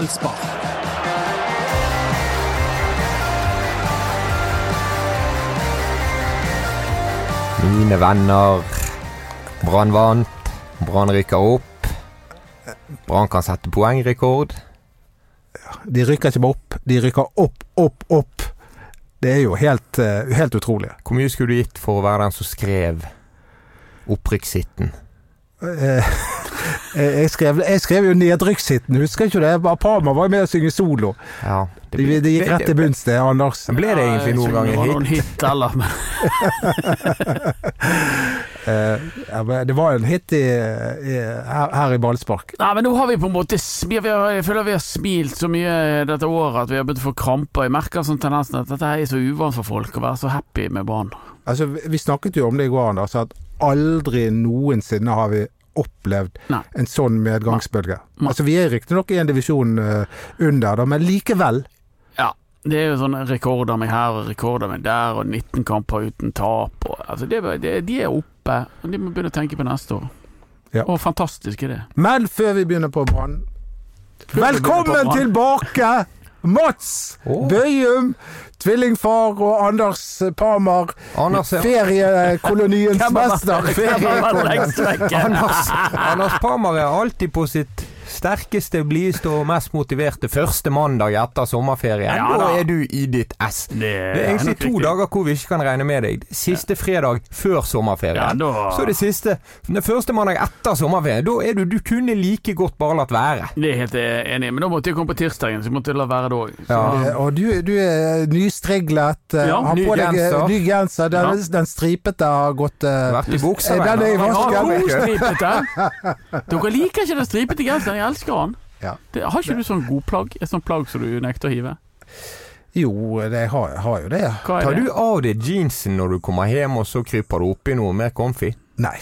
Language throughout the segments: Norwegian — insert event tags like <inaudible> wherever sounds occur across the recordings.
til Spa. Mine venner. Brann vant. Brann rykker opp. Brann kan sette poengrekord. De rykker ikke bare opp, de rykker opp, opp, opp. Det er jo helt, eh, helt utrolig. Hvor mye skulle du gitt for å være den som skrev opprykkssitten? Eh, Jeg skrev, jeg skrev jo nedrykkshitten, husker ikke du det? Bare Palmer var jo med å synge solo. Ja, Det, det gikk rett til bunns, det, Anders. Ble det egentlig noen gang en hit? Noen hit eller, men Eh, ja, men Det var jo en hit i, i, her, her i ballspark. Nei, men nå har vi på en måte smi- vi har, Jeg føler vi har smilt så mye dette året at vi har begynt å få kramper. Jeg merker sånn tendensen at dette her er så uvant for folk, å være så happy med Brann. Altså, vi- vi snakket jo om det i går, Anders, at aldri noensinne har vi opplevd Nei. en sånn medgangsbølge. Altså, vi er riktignok i en divisjon eh, under, da, men likevel. Ja. Det er jo sånn rekorder meg her og rekorder meg der, og 19 kamper uten tap. Og, altså det, er- det, de er oppe, og de må begynne å tenke på neste år. Ja. Og fantastisk er det. Men før vi begynner på Brann Velkommen Brann. tilbake, Mats Åh. Bøyum, tvillingfar og Anders Parmar. Anders, ja. Feriekoloniens Hvem er- mester. Hvem er den lengst vekke? Anders, Anders Palmer er alltid på sitt sterkeste, blideste og mest motiverte første mandag etter sommerferien. Ja, da da. er du i ditt ess. Det Det er egentlig nok to riktig. dager hvor vi ikke kan regne med deg. Siste fredag før Ja, sommerferien. da- Så det siste Den første mandag etter sommerferien. Da er du Du kunne like godt bare latt være. Det er helt eh, enig, i, men da måtte jeg komme på tirsdagen, så jeg måtte la være da òg. Ja. Eh, Og du, du er nystriglet, eh, Ja, har ny på deg eh, genser. ny genser. Den, den stripete har gått eh, Vært i buksa, Eh, den er i venner. vasken. Har du- Dere liker ikke den stripete genseren, jeg elsker den. Ja. Det, har ikke du sånn god plagg? Et sånt plagg som du nekter å hive? Jo, det har, har jo det. ja. Hva Tar er du det? av deg jeansen når du kommer hjem, og så kryper du oppi noe mer comfy? Nei,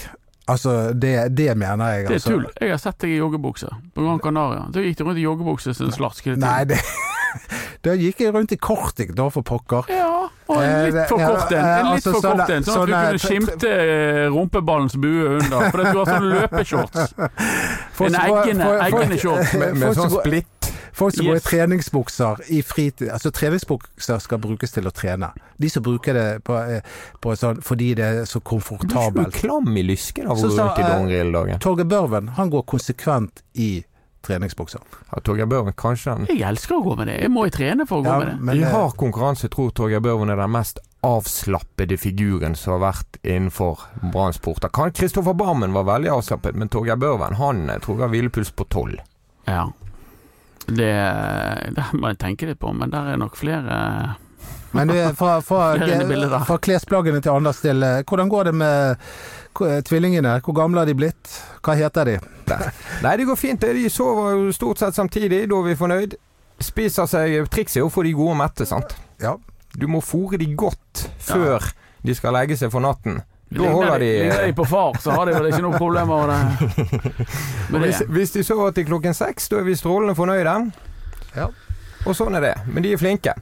altså det, det mener jeg. Det er altså. tull. Jeg har sett deg i joggebukse på Gran Canaria. Da gikk du rundt i joggebukse som en slask hele Nei, tiden. det, <laughs> da gikk jeg rundt i kortik da, for pokker. Ja, og en Eh, litt det- for ja, kort en. eh, En litt altså, for sånne- kort en, sånn at du sånne- kunne skimte eh, rumpeballens bue under. For du har sånn løpeshorts. <laughs> Folk En som var- eggende, folk- folk- eggende shorts. <laughs> Med, med Folk som sånn går- splitt? Folk som går i Yes. treningsbukser i fritid Altså, treningsbukser skal brukes til å trene. De som bruker det på, eh, på sånn fordi det er så Du er ikke komfortabelt. klam i lysken av å Så gå sa, rundt i eh, dongeri hele dagen. Torgeir Børven, han går konsekvent i treningsbukser. Ja, Torgeir Børven, kanskje han Jeg elsker å gå med det. Jeg må jo trene for å gå Ja, med det. men I eh, hard konkurranse tror Torgeir Børven er den mest avslappede figuren som har vært innenfor Branns porter. Kan- Kristoffer Barmen var veldig avslappet, men Torgeir Børven han eh, tror jeg har hvilepuls på tolv. Ja. Det, det må jeg tenke litt på, men der er nok flere men du, eh, fra, <laughs> fra, Flere inne i bildet da. fra klesplaggene til Anders til eh, Hvordan går det med ko- eh, tvillingene? Hvor gamle har de blitt? Hva heter de? Nei, det går fint. det. De sover jo stort sett samtidig, da er vi fornøyd. Spiser seg Trikset er å få de gode og mette, sant. Ja. Du må fôre de godt før de skal legge seg for natten. Da Ligner holder de, ligner de de på far, så har de vel ikke noe <laughs> problemer med det. Men hvis, det hvis de sover til klokken seks, da er vi strålende fornøyde. Ja. Og sånn er det. Men de er flinke.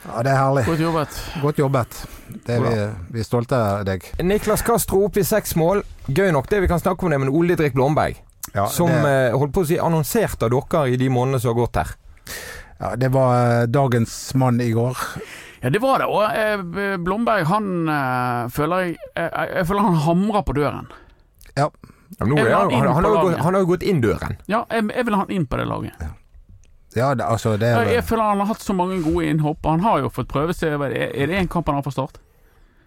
ja, det er herlig. Godt jobbet. Godt jobbet. Det er vi, vi er stolte av deg. Niklas Castro opp i seks mål. Gøy nok det vi kan snakke om det, men Ole Didrik Blomberg, Ja, som det, eh, holdt på å si annonserte av dere i de månedene som har gått her. ja, det var eh, dagens mann i går. Ja, det var det. Og eh, Blomberg, han eh, føler jeg eh, Jeg føler han hamrer på døren. Ja. Ja, men nå, er Er Eh, han, han inn han, han, har på jo gått, laget? han har jo gått inn døren. Ja, jeg, jeg vil ha han inn på det laget. Ja, det, altså det er Jeg, jeg føler han har hatt så mange gode innhopp, og han har jo fått prøve seg. Er er det én kamp han har fra start?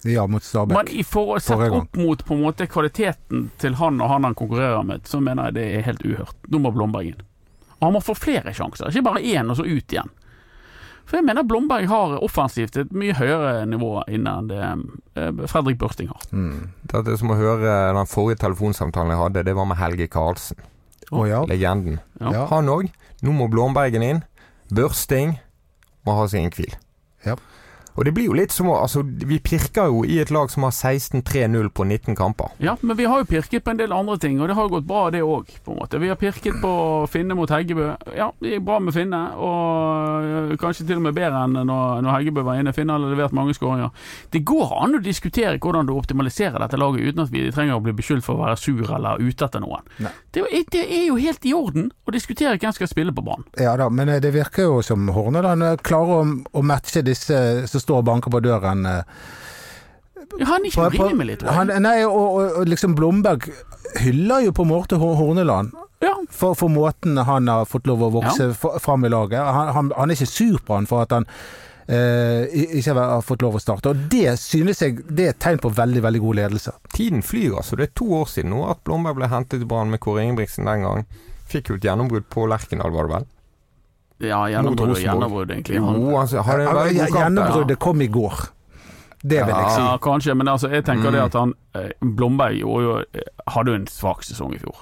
Ja, mot Stabæk. Men i for, sett Forrige gang. opp mot på en måte kvaliteten til han og han han konkurrerer med, så mener jeg det er helt uhørt. Nå må Blomberg inn. Og han må få flere sjanser, ikke bare én og så ut igjen. For jeg mener Blomberg har offensivt et mye høyere nivå inne enn det eh, Fredrik Børsting har. Mm. Dette er som å høre eh, den forrige telefonsamtalen jeg hadde, det var med Helge Karlsen, Å ja. legenden. Ja. Ja. Han òg. Nå må Blombergen inn. Børsting må ha sin hvil. Ja. Og det blir jo litt som å Altså, vi pirker jo i et lag som har 16-3-0 på 19 kamper. Ja, men vi har jo pirket på en del andre ting, og det har gått bra det òg, på en måte. Vi har pirket på Finne mot Heggebø. Ja, det gikk bra med Finne, og øh, kanskje til og med bedre enn når, når Heggebø var inne. Finne hadde levert mange skåringer. Det går an å diskutere hvordan du optimaliserer dette laget uten at vi trenger å bli beskyldt for å være sur eller ute etter noen. Nei. Det, er jo- det er jo helt i orden å diskutere hvem som skal spille på banen. Ja da, men eh, det virker jo som Horneland eh, klarer å, å matche disse eh, som står og banker på døren. eh. Ja, han er ikke På- på- urimelig, litt han, nei, og, og, og liksom Blomberg hyller jo på en måte Hor- Horneland. Ja, For, for måten han har fått lov å vokse f- fram i laget. Han, han, han er ikke sur på han for at han eh, i- ikke har fått lov å starte. Og det synes jeg det er et tegn på veldig, veldig god ledelse. Tiden flyr, altså. Det er to år siden nå at Blomberg ble hentet til Brann med Kåre Ingebrigtsen den gang. Fikk jo et gjennombrudd på Lerkendal, var det vel? ja Mot gjennombrudd og Rosenborg. gjennombrudd, egentlig. Jo, Han, altså, har det en veldig god kamp der. Gjennombruddet kom i går. Det vil jeg si. ja, kanskje, men altså, jeg Mm. tenker det at han eh, Blomberg gjorde jo, eh, hadde jo en svak sesong i fjor.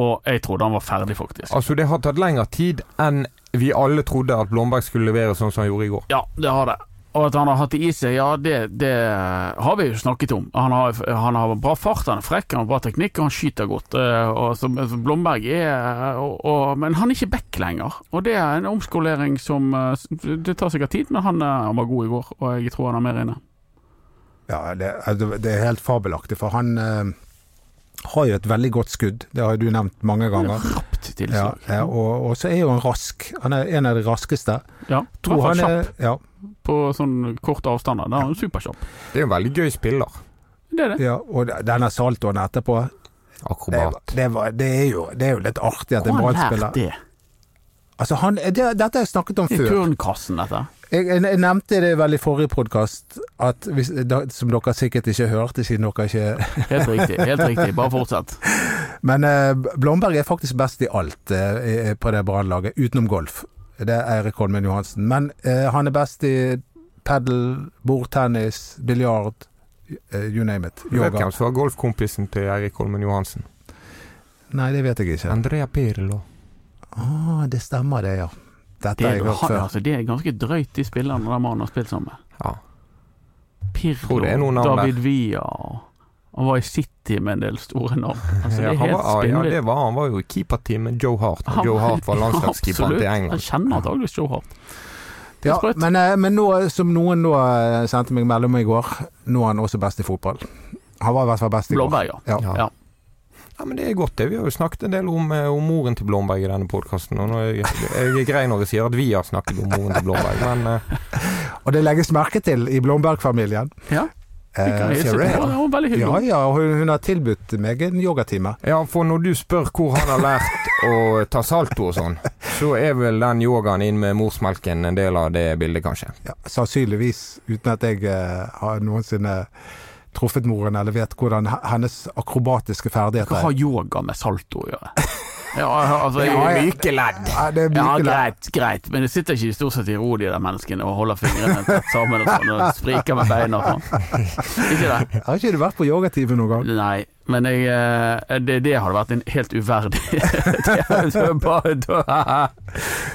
Og jeg trodde han var ferdig, faktisk. Altså, det har tatt lengre tid enn vi alle trodde at Blomberg skulle levere sånn som han gjorde i går. Ja, det har det. Og at han har hatt det i seg, ja, det, det eh, har vi jo snakket om. Han har, han har bra fart, han er frekk, han har bra teknikk, og han skyter godt. eh, Og som, som Blomberg er eh, og, og, Men han er ikke back lenger. Og det er en omskolering som eh, s- Det tar sikkert tid, men han, eh, han var god i går, og jeg tror han er mer inne. Ja, det, altså, det er helt fabelaktig, for han eh, har jo et veldig godt skudd. Det har jo du nevnt mange ganger. Rapt Ja, tilslag. ja, og, og så er jo han rask. Han er en av de raskeste. Ja, i Tror hvert fall han kjapp er ja, på sånn korte avstander. Da er han superkjapp. Det er jo en veldig gøy spiller. Det er det. ja, Og denne saltoen etterpå det, Akrobat. det, var, det, er jo, det er jo litt artig at en Hvor har han brannspiller lært det? altså, han, det, Dette har jeg snakket om Det er før. turnkassen, dette. Jeg, jeg, jeg nevnte det vel i forrige podkast, som dere sikkert ikke hørte, siden dere ikke Helt riktig. helt riktig, Bare fortsett. Men eh, Blomberg er faktisk best i alt eh, på det brannlaget, utenom golf. Det er Eirik Holmen Johansen. Men eh, han er best i padel, bordtennis, biljard, eh, you name it. Du vet Yoga. hvem som var golfkompisen til Eirik Holmen Johansen? Nei, det vet jeg ikke. Andrea Pirlo. Ah, det stemmer det, ja. Dette Det har er, jeg hørt han, før. altså, det er ganske drøyt, de spillerne den mannen har spilt sammen med. Ja. Pirlo, Tror det er noen navn David Villa Han var i City med en del store navn. Altså, det Ja, er han, helt var, ja, spinnvilt. det var, han var jo i keeperteam med Joe Hart. Han- Joe Hart var <laughs> Ja, landslagskeeperen til absolutt. Han England. kjenner antakeligvis Joe Hart. Det er Ja, sprøtt. men, eh, men nå, som noen nå eh, sendte meg melding om i går, nå er han også best i fotball. Han var i hvert fall best i går. Blåbær, ja. Ja. Ja. Ja. Ja, men det er godt, det. Vi har jo snakket en del om, eh, om moren til Blomberg i denne podkasten. Og nå er jeg, jeg er grei når jeg sier at vi har snakket om moren til Blomberg, men eh, Og det legges merke til i Blomberg-familien. Ja, vi kan Eh, hilse ser du på det? han. Han var veldig hyggelig. Ja, ja, og hun, hun har tilbudt meg en yogatime. Ja, for når du spør hvor han har lært å ta salto og sånn, så er vel den yogaen inn med morsmelken en del av det bildet, kanskje. Ja, sannsynligvis, uten at jeg eh, har noensinne truffet moren eller vet hvordan he- hennes akrobatiske Hva ferdigheter har yoga med salto å gjøre? Ja, altså, jeg, Ja, ja. Myke ledd! Ja, det er mye Ja, lært. greit, greit, men det sitter ikke stort sett i ro, de der menneskene, og holder fingrene tett sammen og sånn, og spriker med beina og sånn. Ikke det? Har ikke du vært på yogatime noen gang? Nei, men jeg, eh, det, det hadde vært en helt uverdig <laughs> det hadde bare- da-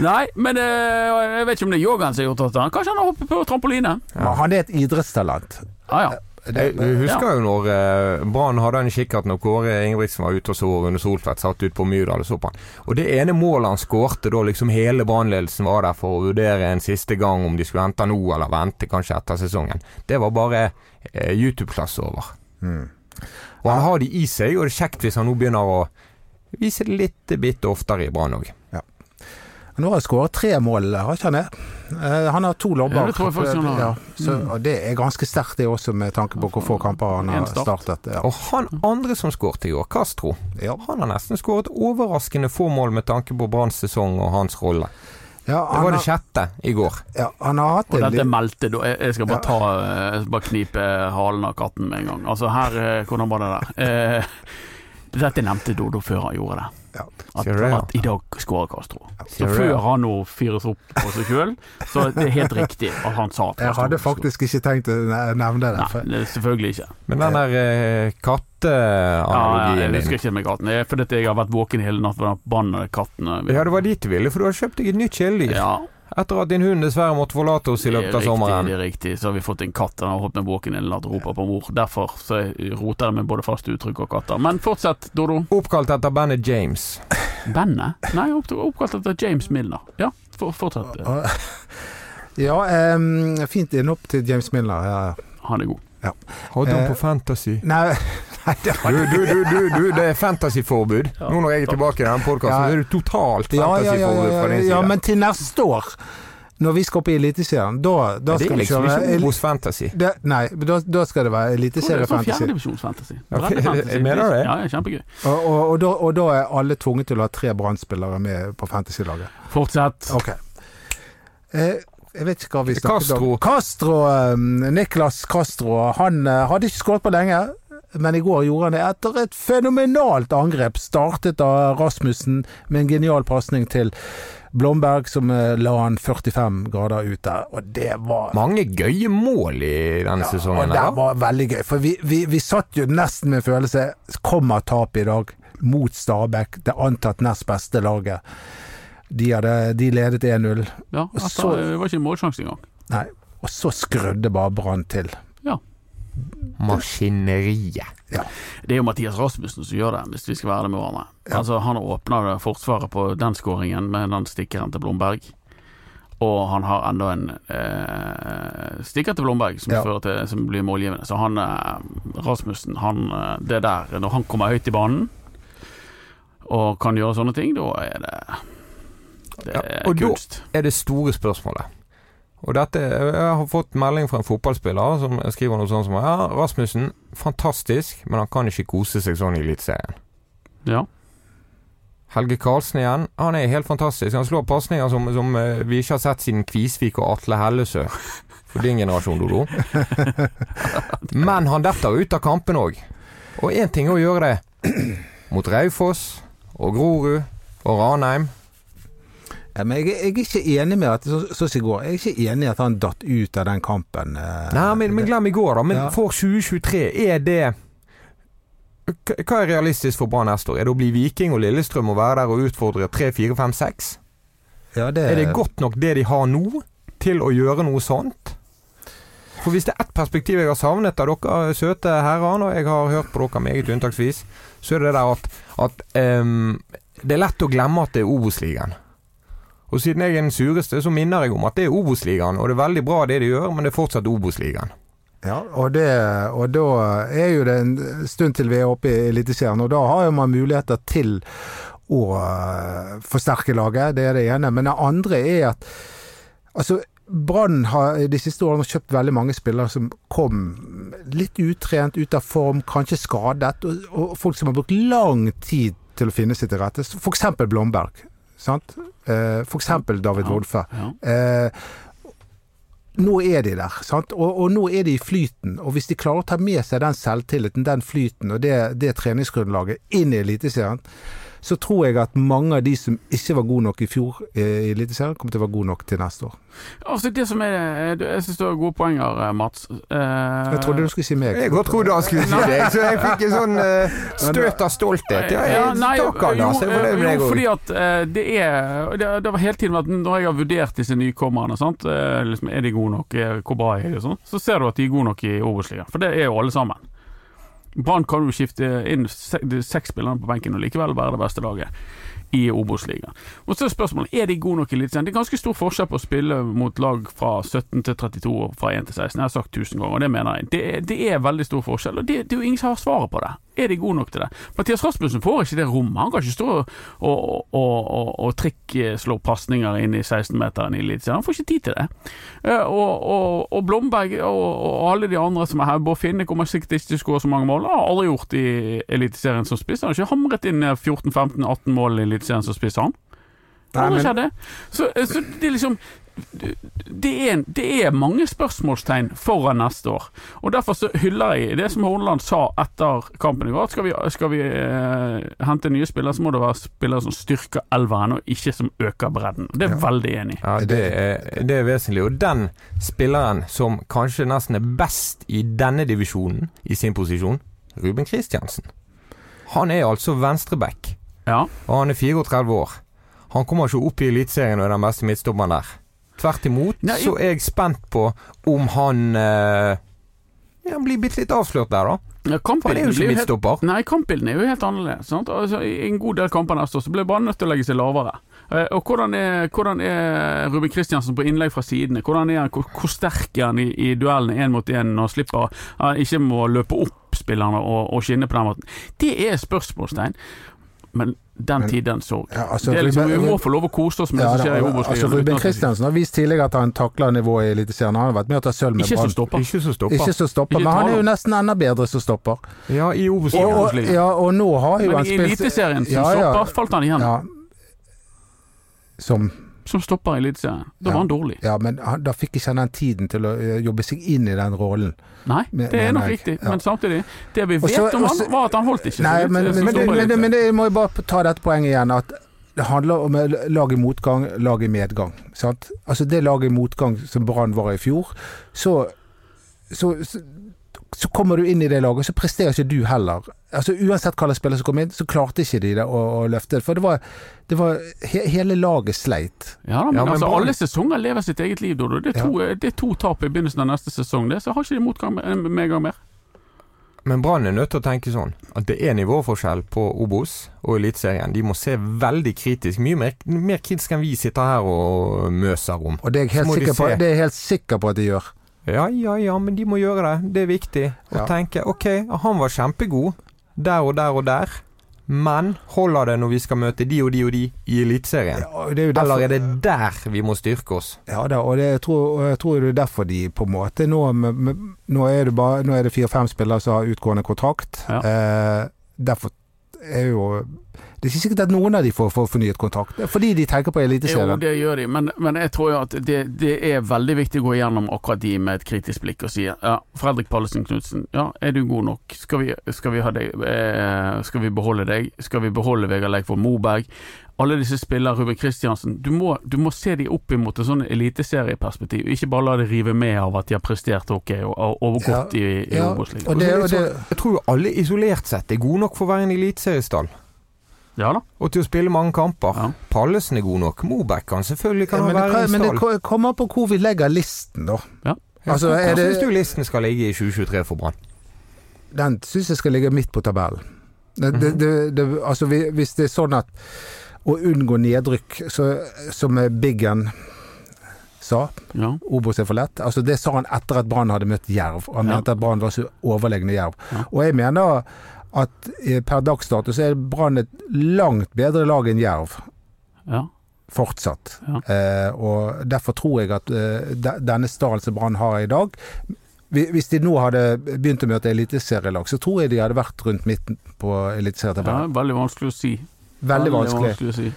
Nei, men eh, jeg vet ikke om det er yogaen som har gjort at han Kanskje han har hoppet på trampoline? Ah, Men han er et idrettstalent. Ja, ja. Jeg husker jo når eh, Brann hadde en kikkert når Kåre Ingebrigtsen var ute og så under Soltvedt, satt ut på Myrdal og så på han. Og det ene målet han skårte da liksom hele Brann-ledelsen var der for å vurdere en siste gang om de skulle hente han nå eller vente kanskje etter sesongen, det var bare eh, YouTube-klass over. Og han har de i seg, og det er kjekt hvis han nå begynner å vise det litt bitt oftere i Brann òg. Nå har han skåret tre mål, har ikke han det? Eh, Han har to lobber. Ja, det tror jeg faktisk han har. Mm. Ja, så, og det er ganske sterkt det også, med tanke på hvor få kamper han har En start. startet. Ja. Og han andre som skåret i år, Castro, Ja. han har nesten skåret overraskende få mål med tanke på Branns sesong og hans rolle. Ja, Det var han, det har, sjette i går. ja, han har hatt Og en dette litt- meldte da Jeg jeg skal bare ta eh, jeg skal bare knipe halen av katten med en gang. Altså her eh, Hvordan var det der? Eh, <laughs> Dette nevnte Dodo før han gjorde det. Ja. At, Ser du det, ja? at i dag skårer Castro. Så Ser du det, før ja? han nå fyres opp på seg sjøl, så det er helt riktig at han sa at Jeg Castro hadde skulle- faktisk ikke tenkt å ne- nevne det. Nei, For, det er selvfølgelig ikke. Men den der eh, Ja, ja, katteanalogien jeg husker din ikke med katten. Det er fordi at jeg har vært våken hele natt for den bannede katten. Ja, det var dit du ville, for du har kjøpt deg et nytt kjæledyr. Ja, Etter at din hund dessverre måtte forlate oss i løpet av riktig, sommeren. Det er riktig. Så har vi fått en katt. Den har hoppet med båken eller latt rope på mor. Derfor så roter jeg med både fast uttrykk og katter. Men fortsett, Dodo. Oppkalt etter bandet James. Bandet? Nei, opp- oppkalt etter James Milner. Ja, for, fortsett. Og- <laughs> Ja, eh, fint innhopp til James Milner. Ja. Han er god. Hadde Eh, han på Fantasy? Nei, nei, det var Du, du, du, du, du det er fantasyforbud. Ja. Nå når jeg er tilbake i den podkasten, Ja. så er det totalt ja, ja, ja, fantasyforbud ja, fra din ja, side. men til neste år, når vi skal opp i Eliteserien, da, da det skal er vi liksom kjøre ikke el- Obos fantasy. det, Nei, da, da skal det være Det er sånn eliteseriefantasy. fjerdedivisjonsfantasy. Ja, <laughs> Breddefantasy. jeg mener det. Ja, ja, kjempegøy. Og, og, og, da, og da er alle tvunget til å ha tre Brann-spillere med på fantasylaget. Fortsett. Ok. Eh, jeg vet ikke hva vi snakket Castro. om. Castro. eh, Niklas Castro. Han eh, hadde ikke skåret på lenge, men i går gjorde han det etter et fenomenalt angrep. Startet av Rasmussen med en genial pasning til Blomberg, som eh, la han 45 grader ut der. Og det var Mange gøye mål i denne og sesongen. det eller? var veldig gøy, for vi, vi, vi satt jo nesten med en følelse Kommer tap i dag mot Stabæk, det antatt nest beste laget. De, hadde, de ledet 1-0. Ja, altså, Så- det var ikke en målsjanse engang. Nei, og så skrudde bare Brann til. Maskineriet. Det er jo Mathias Rasmussen som gjør det, hvis vi skal være det med hverandre. Ja. Altså, han åpner det forsvaret på den skåringen med den stikkeren til Blomberg. Og han har enda en eh, stikker til Blomberg som, Ja. fører til, som blir målgivende. Så han eh, Rasmussen, han eh, Det der, når han kommer høyt i banen og kan gjøre sånne ting, da er det Det Ja, er og da- kunst. Er det store spørsmålet. Og dette, Jeg har fått melding fra en fotballspiller som skriver noe sånt som Ja, Rasmussen, fantastisk, men han kan ikke kose seg sånn i Eliteserien. Ja. Helge Karlsen igjen. Han er helt fantastisk. Han slår pasninger som, som eh, vi ikke har sett siden Kvisvik og Atle Hellesø. For din generasjon, Dodo. Men han detter ut av kampen òg. Og én ting er å gjøre det mot Raufoss og Grorud og Ranheim. Ja, men jeg, jeg er ikke enig med at så, så som i går, jeg er ikke enig i at han datt ut av den kampen. eh, Nei, men, men det- glem i går, da. Men Ja. for 2023, er det K- Hva er realistisk for Brann neste år? Er det å bli Viking og Lillestrøm og være der og utfordre 3, 4, 5, 6? ja, det, Er det godt nok det de har nå, til å gjøre noe sånt? For hvis det er ett perspektiv jeg har savnet av dere søte herrer, og jeg har hørt på dere meget unntaksvis, så er det det der at, at ehm, det er lett å glemme at det er Obos-ligaen. Og siden jeg er den sureste, så minner jeg om at det er Obos-ligaen, og det er veldig bra det de gjør, men det er fortsatt Obos-ligaen. Ja, og, det, og da er jo det en stund til vi er oppe i Eliteserien, og da har jo man muligheter til å eh, forsterke laget, det er det ene. Men det andre er at altså, Brann har de siste årene kjøpt veldig mange spillere som kom litt utrent, ut av form, kanskje skadet, og, og folk som har brukt lang tid til å finne seg til rette. Så For eksempel Blomberg. Sant? Eh, For eksempel David Ja. Wolfe. ja. Eh, nå er de der, sant? Og, og nå er de i flyten. Og hvis de klarer å ta med seg den selvtilliten, den flyten og det, det treningsgrunnlaget inn i Eliteserien, så tror jeg at mange av de som ikke var gode nok i fjor eh, i Eliteserien, kommer til å være gode nok til neste år. Altså, det som er Jeg syns du har gode poenger, eh, Mats. Eh, Jeg trodde du skulle si meg. Jeg godt trodde han skulle si det, så jeg fikk en sånn eh, støt av stolthet. Ja, jeg, Ja, nei, takk, Anders. Jeg er fornøyd med jo, deg jo, også. fordi at eh, det er Det, det har hele tiden vært Når jeg har vurdert disse nykommerne, sant? eh, Liksom, er de gode nok, Eh, hvor bra er de, og sånn, så ser du at de er gode nok i Obos-ligaen. For det er jo alle sammen. Brann kan jo skifte inn se- de seks spillerne på benken og likevel være det beste laget i Obos-ligaen. Og så er spørsmålet er de gode nok i Eliteserien. Det er ganske stor forskjell på å spille mot lag fra 17 til 32 og fra 1 til 16. Jeg har sagt 1000 ganger, og det mener jeg. Det, er- det er veldig stor forskjell, og det, det er jo ingen som har svaret på det. Er de gode nok til det? Mathias Rasmussen får ikke det rommet. Han kan ikke stå og, og, og, og trikkslå pasninger inn i 16-meteren i Eliteserien. Han får ikke tid til det. Eh, Og, og, og Blomberg og, og alle de andre som er her, Bård Finne kommer sikkert ikke til å skåre så mange mål. Han har aldri gjort i Eliteserien som spiss. Han har ikke hamret inn eh, 14-15-18 mål i Eliteserien som spiss, han. Det Nei, aldri men- skjedde. Så, så det er liksom det er, det er mange spørsmålstegn foran neste år. Og Derfor så hyller jeg det som Horneland sa etter kampen i går. at Skal vi, skal vi eh, hente nye spillere, så må det være spillere som styrker elveren, og ikke som øker bredden. Det er jeg veldig enig i. Ja, det er, det er vesentlig. Og den spilleren som kanskje nesten er best i denne divisjonen, i sin posisjon, Ruben Kristiansen. Han er altså venstreback, Ja. og han er 34 år. Han kommer ikke opp i Eliteserien og er den beste midtstopperen der. Tvert imot Nei, så er jeg spent på om han eh, ja, blir bitte litt avslørt der, da. Ja, For han er jo ikke helt- midtstopper. Nei, kampbilden er jo helt annerledes. Sant? Altså, I en god del kamper neste år så blir Brann nødt til å legge seg lavere. Eh, Og hvordan er, hvordan er Ruben Kristiansen på innlegg fra sidene? Hvordan er han, hvor, hvor sterk er han i, i duellene én mot én når han slipper han ikke må løpe opp spillerne og, og skinne på den måten? Det er spørsmålstegn. Men den Men- tid, den sorg. Ja, altså, det er liksom, vi Ruben- må få lov å kose oss med Ja, det som skjer i da, altså, Obos-ligaen. uten Ruben at vi- Kristiansen har vist tidligere at han takler nivået i Eliteserien. Han har vært med å ta sølv med Ikke som Brann. stopper. Ikke så stopper. Ikke som stopper, Ikke men han er jo taler. nesten enda bedre som stopper. Ja, i obos Og, og, ja, og nå har jo Men han i spilt Eliteserien som Ja, ja. stopper, falt han igjen. ja. Som Som stopper i Eliteserien. Da Ja. var han dårlig. Ja, men han, da fikk ikke han den tiden til å eh, jobbe seg inn i den rollen. Nei, Men- det er men nok jeg- riktig, ja. men samtidig Det vi vet Og så- om og han, så- var at han holdt ikke. Nei, Så det- men, så- men, så- men, så- det- men, det- men det- jeg må jo bare ta dette poenget igjen. At det handler om eh, lag i motgang, lag i medgang. Sant? Altså det laget i motgang som Brann var i fjor, så, så, så så kommer du inn i det laget, så presterer ikke du heller. Altså Uansett hva slags spiller som kom inn, så klarte ikke de det å, å løfte. det, For det var, det var he, Hele laget sleit. ja, da, men, Ja, men altså, Brann- alle sesonger lever sitt eget liv, Dodo. Det er to, det er to tap i begynnelsen av neste sesong, det, så har ikke de motgang eh, med, med gang mer. Men Brann er nødt til å tenke sånn at det er nivåforskjell på Obos og Eliteserien. De må se veldig kritisk, mye mer, mer kritisk enn vi sitter her og møser om. Og det er jeg Så helt må de sikker på, se. det er jeg helt sikker på at de gjør. Ja, ja, ja, men de må gjøre det. Det er viktig å Ja. tenke OK, han var kjempegod der og der og der, men holder det når vi skal møte de og de og de i Eliteserien? Ja, og det er jo derfor- Eller er det der vi må styrke oss? Ja da, og det, jeg, tror, og jeg tror det er derfor de på en måte Nå, med- med- nå er det bare- nå er det fire-fem spillere som har utgående kontrakt. Ja. Eh, derfor er jo Det er ikke sikkert at noen av de får, får fornyet kontrakt, fordi de tenker på Jo, Eliteserien. det gjør de, men, men jeg tror jo at det, det er veldig viktig å gå gjennom akkurat de med et kritisk blikk og si ja, Fredrik Pallesen Knutsen, ja, er du god nok? Skal vi, skal vi, ha deg, eh, skal vi beholde deg? Skal vi beholde Vegard Leikvoll Moberg? Alle disse spillere, Ruben Kristiansen, du må, du må se de opp imot et sånn eliteserieperspektiv, ikke bare la det rive med av at de har prestert ok og, og, og gått i, i Ja, Obos-ligaen. og det, og det, sånn, Jeg tror jo alle isolert sett er gode nok for å være en eliteseriestall. Ja da. Og til å spille mange kamper. Ja. Pallesen er god nok. Moberg kan selvfølgelig kan ja, Eh, men, han være det, en men det stall. ko- kommer an på hvor vi legger listen, da. Ja. Altså, Hvor er syns du det, listen skal ligge i 2023 for Brann? den syns jeg skal ligge midt på tabellen. Det, det, det, det, altså, vi- hvis det er sånn at å unngå nedrykk, så, som eh, Biggen sa Ja. Obos er for lett. Altså Det sa han etter at Brann hadde møtt Jerv. Han Ja. mente at Brann var så overlegne Jerv. Ja. Og jeg mener at eh, per dags dato så er Brann et langt bedre lag enn Jerv ja. fortsatt. Ja. Eh, og derfor tror jeg at eh, de- denne stallen som Brann har i dag hvi- hvis de nå hadde begynt å møte eliteserielag, så tror jeg de hadde vært rundt midten på Det eliteserietabellen. er veldig vanskelig å si. Veldig vanskelig. å si.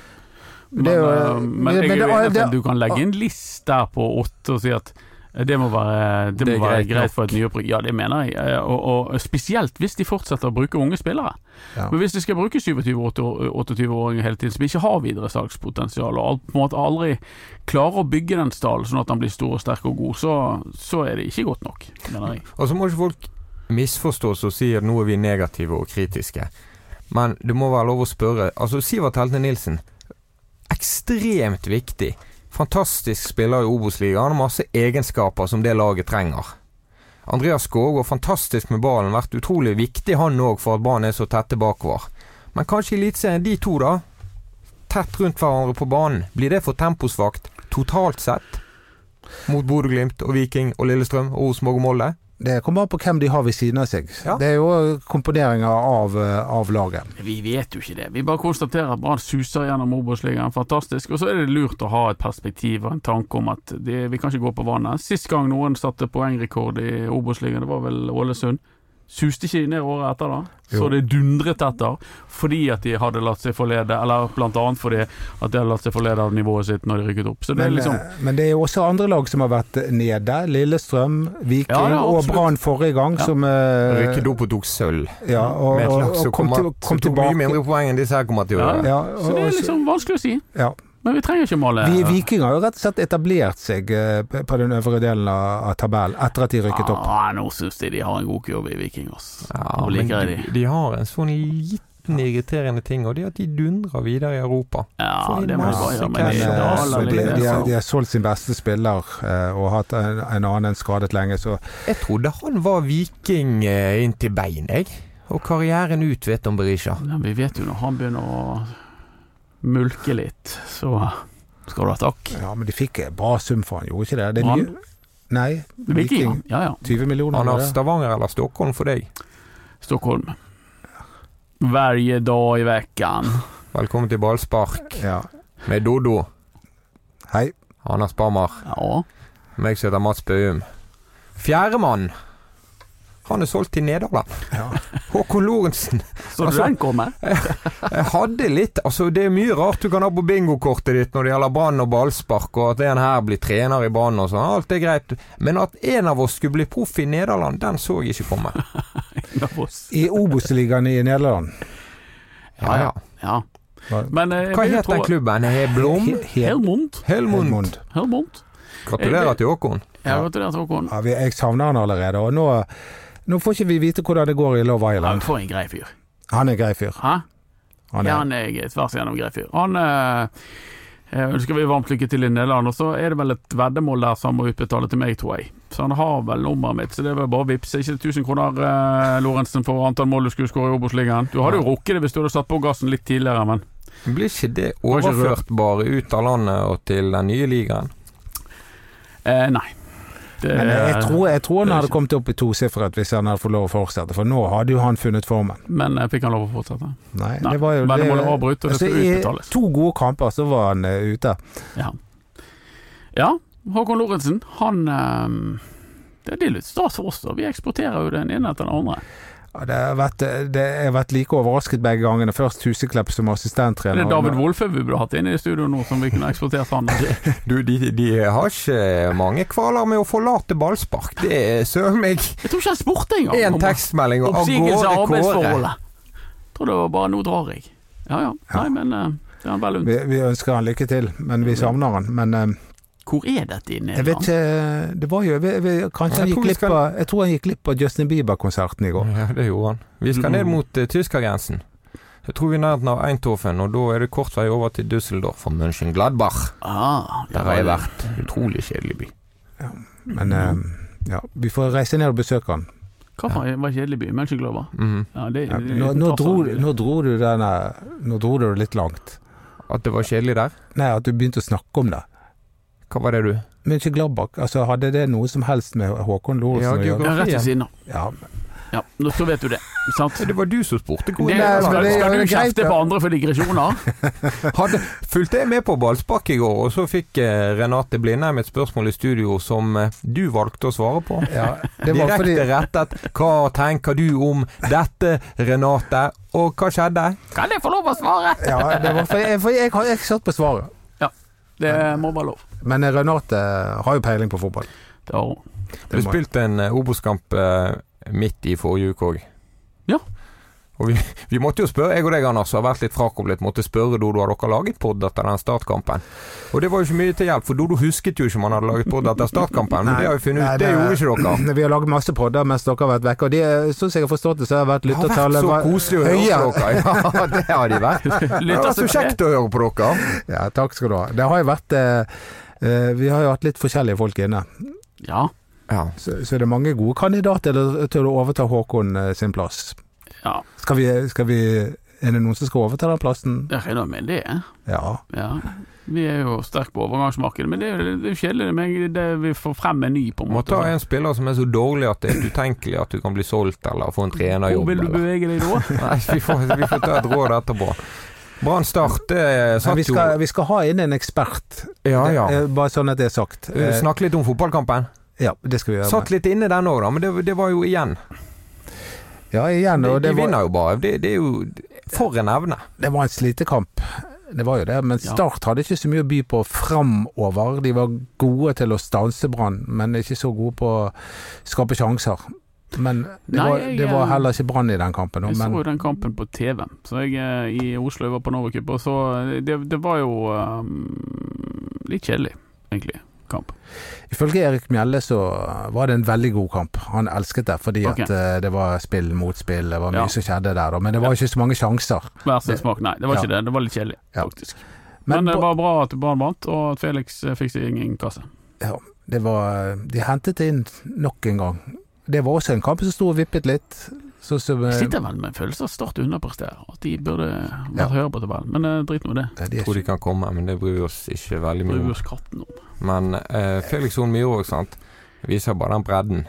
Men, Det er jo- eh, men men- jeg men er jo det er- enig i at det- ah. du kan legge en list der på åtte og si at eh, det må være, det Det må er være greit greit for et nyopprykk. Ja, det mener jeg. Eh, Og, og spesielt hvis de fortsetter å bruke unge spillere. Ja. Men hvis de skal bruke 27-28-åringer hele tiden, som ikke har videre salgspotensial, og al- på en måte aldri klarer å bygge den stallen sånn at han blir stor og sterk og god, så, så er det ikke godt nok, mener jeg. Og så må ikke folk misforstås og si at nå er vi negative og kritiske. Men det må være lov å spørre. Altså, Sivert Helte Nilsen. Ekstremt viktig. Fantastisk spiller i Obos-ligaen. Han har Masse egenskaper som det laget trenger. Andreas Skågård, fantastisk med ballen. Vært utrolig viktig, han òg, for at Brann er så tette bakover. Men kanskje i Eliteserien, de to, da. Tett rundt hverandre på banen. Blir det for temposvakt totalt sett? Mot Bodø-Glimt og Viking og Lillestrøm og Rosenborg og Molde? Det kommer an på hvem de har ved siden av seg. Ja. Det er jo komponeringer av, eh, av laget. Vi vet jo ikke det. Vi bare konstaterer at Brann suser gjennom Obos-ligaen, fantastisk. Og så er det lurt å ha et perspektiv og en tanke om at det, vi kan ikke gå på vannet. Sist gang noen satte poengrekord i Obos-ligaen, det var vel Ålesund. Suste ikke de ned året etter, da. Så Jo. det dundret etter fordi at de hadde latt seg forlede, eller blant annet fordi at de hadde latt seg forlede av nivået sitt når de rykket opp. Så det er Men, liksom eh, men det er jo også andre lag som har vært nede. Lillestrøm, Viking Ja, ja, og absolutt. Brann forrige gang, Ja. som eh, Rykket opp og tok sølv. Ja, og, med et og, klaps og og kom, kom, til, kom tok mye tilbake. mindre poeng enn disse her kommer til å gjøre. Ja, Så og, det er og, liksom vanskelig å si. ja. Men vi trenger ikke male Vi, Viking har jo rett og slett etablert seg eh, på den øvre delen av av tabellen etter at de rykket opp. Ah, nå syns jeg de har en god kurve i Viking, ass. Ja, Nå liker jeg men de, de har en sånn liten 17 irriterende ting, og det er at de dundrer videre i Europa. Ja, Får inn det må jeg masse bare gjøre. Men Men, det er det eh, cash. aller de, lignende, de, lengste. de har solgt sin beste spiller eh, og hatt en, en annen enn skadet lenge, så Jeg trodde han var viking eh, inn til bein, jeg. Og karrieren ut, vet om Berisha. Ja, vi vet jo når han begynner å mulke litt, så skal du ha takk. Ja, men de fikk en bra sum for han, gjorde ikke det? det er Han? mye- Nei, Viking, ja ja. 20 millioner. Han var har det. Stavanger eller Stockholm for deg. Stockholm. Varje dag i veckan. Velkommen til ballspark Ja. med Dodo. Hei. Anders Barmer. Ja. Meg som heter Mats Bøum. Fjerdemann. Han er solgt til Nederland. Ja. Håkon Lorentzen. Så du Altså- den kommer? Jeg hadde litt Altså, det er mye rart du kan ha på bingokortet ditt når det gjelder Brann og ballspark, og at en her blir trener i Brann og sånn. Alt er greit. Men at en av oss skulle bli proff i Nederland, den så jeg ikke <laughs> komme. I Obos-ligaen i Nederland. Ja, ja. ja. Hva- Men eh, Hva jeg vil het den tro- klubben? He- Blom? He- He- Helmond. Helmond. Helmond. Helmond. Gratulerer til Håkon. Ja, gratulerer til Håkon. Ja, vi- jeg savner han allerede, og nå, nå får ikke vi vite hvordan det går i Love Ja, Island. For en grei fyr. Han er en grei fyr. Hæ? Han Ja, er. han er tvers igjennom grei fyr. Han eh, eh, ønsker vi varmt lykke til i Nederland, og så er det vel et veddemål der som han må utbetale til meg, tror jeg. Så han har vel nummeret mitt, så det er vel bare å vippse. Ikke 1000 kroner, eh, Lorentzen, for antall mål du skulle skåre i Obos-ligaen. Du hadde jo rukket det hvis du hadde satt på gassen litt tidligere, men Blir ikke det ikke rørt. overført bare ut av landet og til den nye ligaen? eh, nei. Det, Men eh, jeg tror, jeg tror han det er hadde ikke- kommet opp i tosifret hvis han hadde fått lov å fortsette, for nå hadde jo han funnet formen. men eh, fikk han lov å fortsette? Nei, Nei, det var jo veddemålet avbrutt, og det altså, skulle i utbetales. To gode kamper, så var han eh, ute. Ja, Håkon Lorentzen, han eh, det, det er litt stas for oss, da. Vi eksporterer jo den ene etter den andre. Ja, det har vært, det, jeg har vært like overrasket begge gangene. Først Huseklepp som Det assistenttrener. er David Wolfe vi burde hatt inne i studio nå, som vi kunne eksportert <laughs> han. Du, de, de har ikke mange kvaler med å forlate ballspark. Det er søren meg Jeg tror ikke han spurte engang. én om tekstmelding og av Oppsigelse av gårde Kåre. arbeidsforholdet. Tror det var bare 'nå drar jeg'. Ja ja. Nei, men eh, det er han vel Vi, unnt. vi ønsker han lykke til, men vi savner han. Men eh, Hvor er dette i jeg vet Nederland? ikke Det var jo vi, vi, Kanskje Jeg han tror gikk vi glipp skal- av Jeg tror han gikk glipp av Justin Bieber-konserten i går. Ja, det gjorde han. Vi skal ned mot eh, tyskergrensen. Jeg tror vi er i nærheten av Eindhoven, og da er det kort vei over til Düsseldorf og München-Gladbach. Ah, ja, Der har jeg vært. Utrolig kjedelig by. Men eh, ja, vi får reise ned og besøke han. Mm. Hva faen, det var en kjedelig by? Mönchenglover? Mhm. Ja, det, Ja, det- nå, nå, det- dro, nå dro du denne Nå dro du det litt langt. At det var kjedelig der? Nei, at du begynte å snakke om det. Hva var det du Men ikke Gladbach. Altså, hadde det noe som helst med Håkon Ja, Lorentzen å du- gjøre? ja, rett ved siden av. Ja, Ja, nå så vet du det. Sant? Det var du som spurte. Hvor Det, er det- skal, men det- skal ja, du det er greit, kjefte ja. på andre for <laughs> digresjoner? Hadde, fulgte jeg med på ballspark i går, og så fikk eh, Renate Blindheim et spørsmål i studio som eh, du valgte å svare <laughs> på. ja, det var Direkte fordi rettet. Hva tenker du om dette, Renate? Og hva skjedde? Kan jeg få lov å svare? ja, det var fordi, jeg, for jeg, har- jeg satt på svaret. Det må være lov. Men eh, Renate har jo peiling på fotball. <clears throat> Det har hun. Det Det må- ble spilt en eh, Obos-kamp eh, midt i forrige uke òg. Ja. Og vi, <laughs> vi måtte jo spørre, jeg og deg Anders har vært litt frakoblet, måtte spørre Dodo har dere laget podd etter den startkampen. Og det var jo ikke mye til hjelp, for Dodo husket jo ikke om han hadde laget podd etter startkampen. Men Nei, det har vi funnet ut, nei, det, det- gjorde ikke dere. Vi har laget masse podder mens dere har vært vekke, og de, sånn som jeg har forstått det, <laughs> så har det vært Det har vært lyttertallet så koselig å høre høye. på dere. Ja, <laughs> det har de vært. Det har vært altså, så Lytter- kjekt å høre på dere. <laughs> Ja, takk skal du ha. Det har jo vært eh, eh, Vi har jo hatt litt forskjellige folk inne, Ja. Ja. så, så det er mange gode kandidater til- til å overta Håkon eh, sin plass. ja. Skal vi, skal vi Er det noen som skal overta den plassen? Jeg regner med det. Ja. Ja. Vi er jo sterke på overgangsmarkedet, men det er jo det er jo kjedelig det med det vi får frem en ny, på en Må måte. ta en spiller som er så dårlig at det er utenkelig at du kan bli solgt eller få en Hvor trenerjobb. vil du eller- bevege deg da? Nei, vi får, vi får ta et råd etterpå. Brann Start det Men satt vi, jo skal, vi skal ha inn en ekspert, Ja, ja. Eh, bare sånn at det er sagt. Eh, Eh, Snakke litt om fotballkampen. Ja, det skal vi gjøre. Satt litt inne den òg, da, men det, det var jo igjen. Ja, igjen, De, og de det var, vinner jo bare. Det, det er jo For en evne. det var en slitekamp. Det var jo det, men Ja. Start hadde ikke så mye å by på framover. De var gode til å stanse Brann, men ikke så gode på å skape sjanser. Men det, Nei, var, jeg, det var eh, heller ikke Brann i den kampen. Jeg så Men jo den kampen på TV. Så jeg eh, i Oslo, jeg var på Novacup, og så det, det var jo eh, litt eh, kjedelig, egentlig. kamp? Ifølge Erik Mjelle så var det en veldig god kamp. Han elsket det fordi Ok. at eh, det var spill mot spill, det var mye Ja. som skjedde der, da. Men det var ikke så mange sjanser. Hver sin smak. Nei, det var Ja. ikke det. Det var litt kjedelig, Ja. faktisk. Men, Men, det på- var bra at Brann vant, og at Felix eh, fikk sin egen kasse. ja, det var De hentet inn nok en gang. Det var også en kamp som sto og vippet litt. Sånn som eh, Jeg sitter vel med en følelse av at Start underpresterer, at de burde vært Ja. høyere på tabellen. Men eh, drit nå i det. ja, de er Jeg tror de ikke- kan komme, men det bryr vi oss ikke veldig mye Bryr om. oss katten om. Men eh, Felix Horn Myhrvold, sant, viser bare den bredden.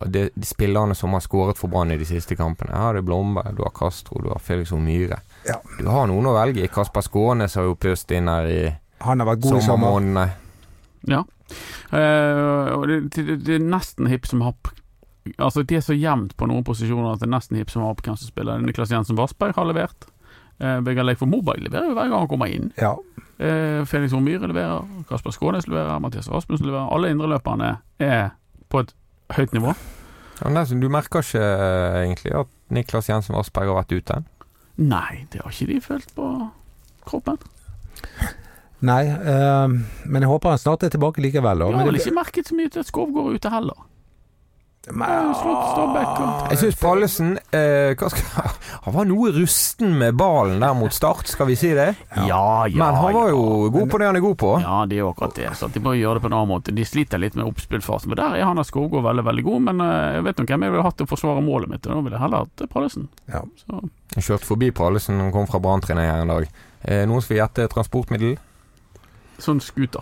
Og det, de spillerne som har skåret for Brann i de siste kampene. Her har du Blomberg, du har Castro, du har Felix Horn Myhre. Ja. Du har noen å velge i. Kasper Skånes har jo pust inn her i Han har vært god i sommer. sommermånedene. Ja. Eh, og det, det, det er nesten hipp som happ. Altså, det er så jevnt på noen posisjoner at det er nesten hipp som happ hvem som spiller. Niklas Jensen Vassberg har levert. Eh, Vegard Leif og Moberg leverer jo hver gang han kommer inn. Ja. Eh, Felix Hormyhre leverer, Kasper Skånes leverer, Mathias Rasmussen leverer. Alle indreløperne er på et høyt nivå. Ja, men det er sånn, du merker ikke eh, egentlig at Niklas Jensen Vassberg har vært ute? Nei, det har ikke de følt på kroppen. Nei, eh, men jeg håper han snart er tilbake likevel. da. De har Men vel det- ikke merket så mye til at Skovgård er ute heller. Men- Ja, slått Stabæk og- Jeg syns Pallesen eh, hva skal, <laughs> Han var noe rusten med ballen der mot start, skal vi si det? Ja. Men han var jo god på det han er god på. Ja, det er jo akkurat det. Så de må gjøre det på en annen måte. De sliter litt med oppspillfasen. Men der er Hanna Skogård veldig veldig god, men eh, jeg vet nå hvem jeg ville hatt til å forsvare målet mitt. og Nå ville jeg heller hatt eh, Pallesen. Ja. Så Jeg kjørte forbi Pallesen, han kom fra Branntrenet her en dag. Eh, noen som vil gjette transportmiddel? sånn scooter.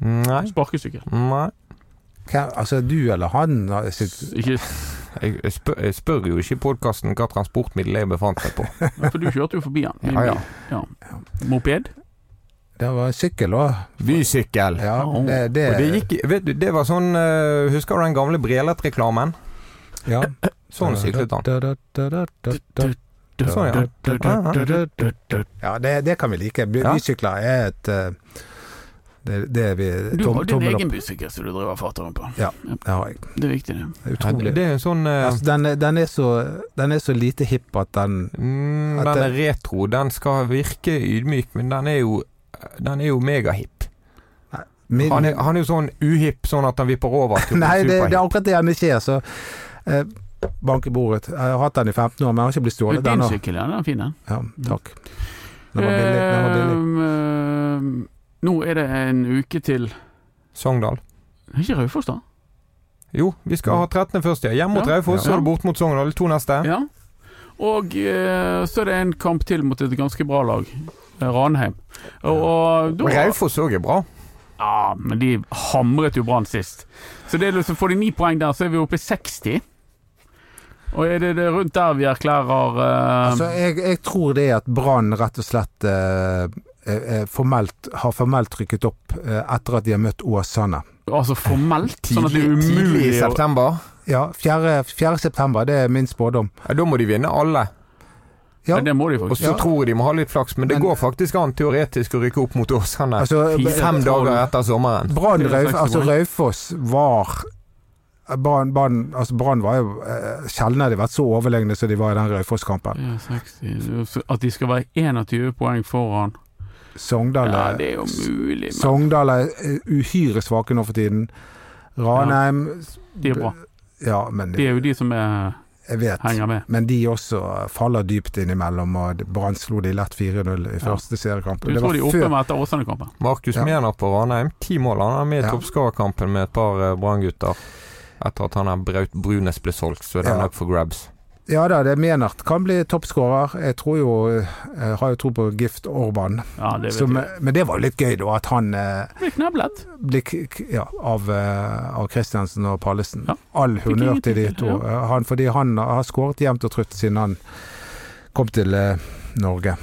Nei. Sparkesykkel. Nei. Hvem, altså, du eller han har sitt- Ikke, Jeg, jeg, spør, jeg spør jo ikke i podkasten hva transportmiddel jeg befant meg på. for du kjørte jo <laughs> forbi han. i en Ja, ja. bil. ja. Moped? Det var en sykkel òg. Bysykkel. Ja, Au. det, det, Og det gikk Vet du, det var sånn eh, Husker du den gamle Brelert-reklamen? ja. Sånn syklet han. Da, da, da, da, da, da. Sånn, ja. Ja, det, det kan vi like. By- Ja. Bysykler er et eh, det, det er vi Du tom, har din tommel egen opp. bysykkel som du driver fatter'n på. Det har jeg. Det er viktig, det. Det er Ja, utrolig. det er en sånn eh, altså, den, er- den, er så, den er så lite hipp at den mm, at Den det- er retro. Den skal virke ydmyk, men den er jo Den er jo megahipp. min, Han, er- han er jo sånn uhipp, sånn at han vipper over til <laughs> å bli Nei, det, det er superhipp. akkurat det han ikke er. Så eh, bank i bordet. Jeg har hatt den i 15 år, men jeg har ikke blitt Og stjålet Din ennå. sykkel, ja. Den er fin, den. Ja, takk. Den var billig. Den Eh, var um, billig. Ehm, ehm, Nå er det en uke til Sogndal. Er Ikke Raufoss, da? Jo, vi skal ha 13. først, ja. Hjemme mot Ja. Raufoss, så Ja. er det bort mot Sogndal. To neste. Ja. Og eh, så er det en kamp til mot et ganske bra lag, eh, Ranheim. Og, og da Raufoss òg er bra. Ja, men de hamret jo Brann sist. Så det er liksom, får de ni poeng der, så er vi oppe i 60. Og er det, det rundt der vi erklærer eh, Altså, jeg, jeg tror det at Brann rett og slett eh, eh, formelt, har formelt trykket opp eh, etter at de har møtt Åsane. altså formelt, sånn at det er Tidlig- tidlig i umulig å september. Ja, 4. 4. september, det er min spådom. Ja, da må de vinne alle. Ja, Men det må de Og faktisk. så Ja. tror jeg de må ha litt flaks, men det Men- går faktisk an teoretisk å rykke opp mot Åsane altså, Fire. fem dager etter sommeren. Brann Det er Rauf, faktisk altså, bra. Raufoss var Brann Brann- altså, Brann var jo eh, Sjelden har de vært så overlegne som de var i den Raufoss-kampen. Ja, 60. Så At de skal være 21 poeng foran Sogndal eh, Ja, er- det er jo mulig, men Sogndal er eh, uhyre svake nå for tiden. Ranheim de er bra. Ja, men De er jo de som er, jeg vet henger med. Men de også faller dypt innimellom, og Brann slo de lett 4-0 i første seriekamp. Du Det var tror de er før- oppe med etter Åsane-kampen? Markus Ja. Mjener på Ranheim, ti mål. Han er med i Ja. toppskårerkampen med et par eh, Brann-gutter. Etter at han her Braut Brunes ble solgt, så er den Ja. up for grabs. Ja da, det er Menert kan bli toppskårer. Jeg tror jo eh, jeg har jo tro på Gift Orban. Ja, det vet Som, jeg. men det var jo litt gøy, da. At han eh, Ble kneblet. ble k- k- ja, av, eh, av Christiansen og Pallesen. Ja. All Fikk honnør ingenting til de til, to. Eh, Han, fordi han har skåret jevnt og trutt siden han kom til eh, Norge.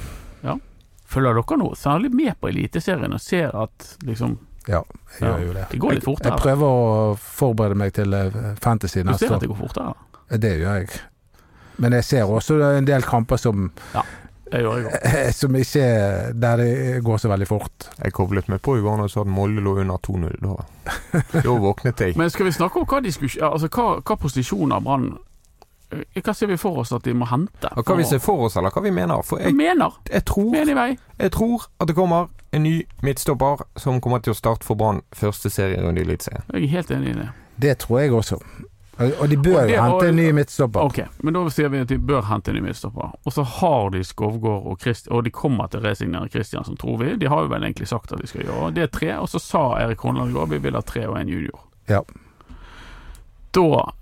Følger dere nå særlig med på Eliteserien og ser at liksom Ja, jeg Ja. gjør jo det. Det går litt fort Jeg her. prøver å forberede meg til eh, fantasy Du neste ser år. at det går fort her. Det gjør jeg. Men jeg ser også en del kamper som, <laughs> Det gjør jeg òg. som ikke Der det går så veldig fort. Jeg koblet meg på i går da jeg så at Molde lå under 2-0. Da <laughs> Da våknet jeg. Men skal vi snakke om hva, diskus- ja, altså, hva, hva posisjoner Brann eh, Hva ser vi for oss at de må hente? Og hva vi ser for oss, eller hva vi mener. For jeg, mener, jeg, tror, mener i vei. jeg tror at det kommer en ny midtstopper som kommer til å starte for Brann første serierunde i Eliteserien. Jeg er helt enig i det. Det tror jeg også. Og og de bør Og det- jo hente en ny midtstopper. Ok, men da sier vi at de bør hente en ny midtstopper. Og så har de Skovgård og Christ, og de kommer til å resignere Kristiansen, tror vi. De har jo vel egentlig sagt at de skal gjøre det. er tre, og så sa Erik Horneland i går vi vil ha tre og en junior. Ja. Da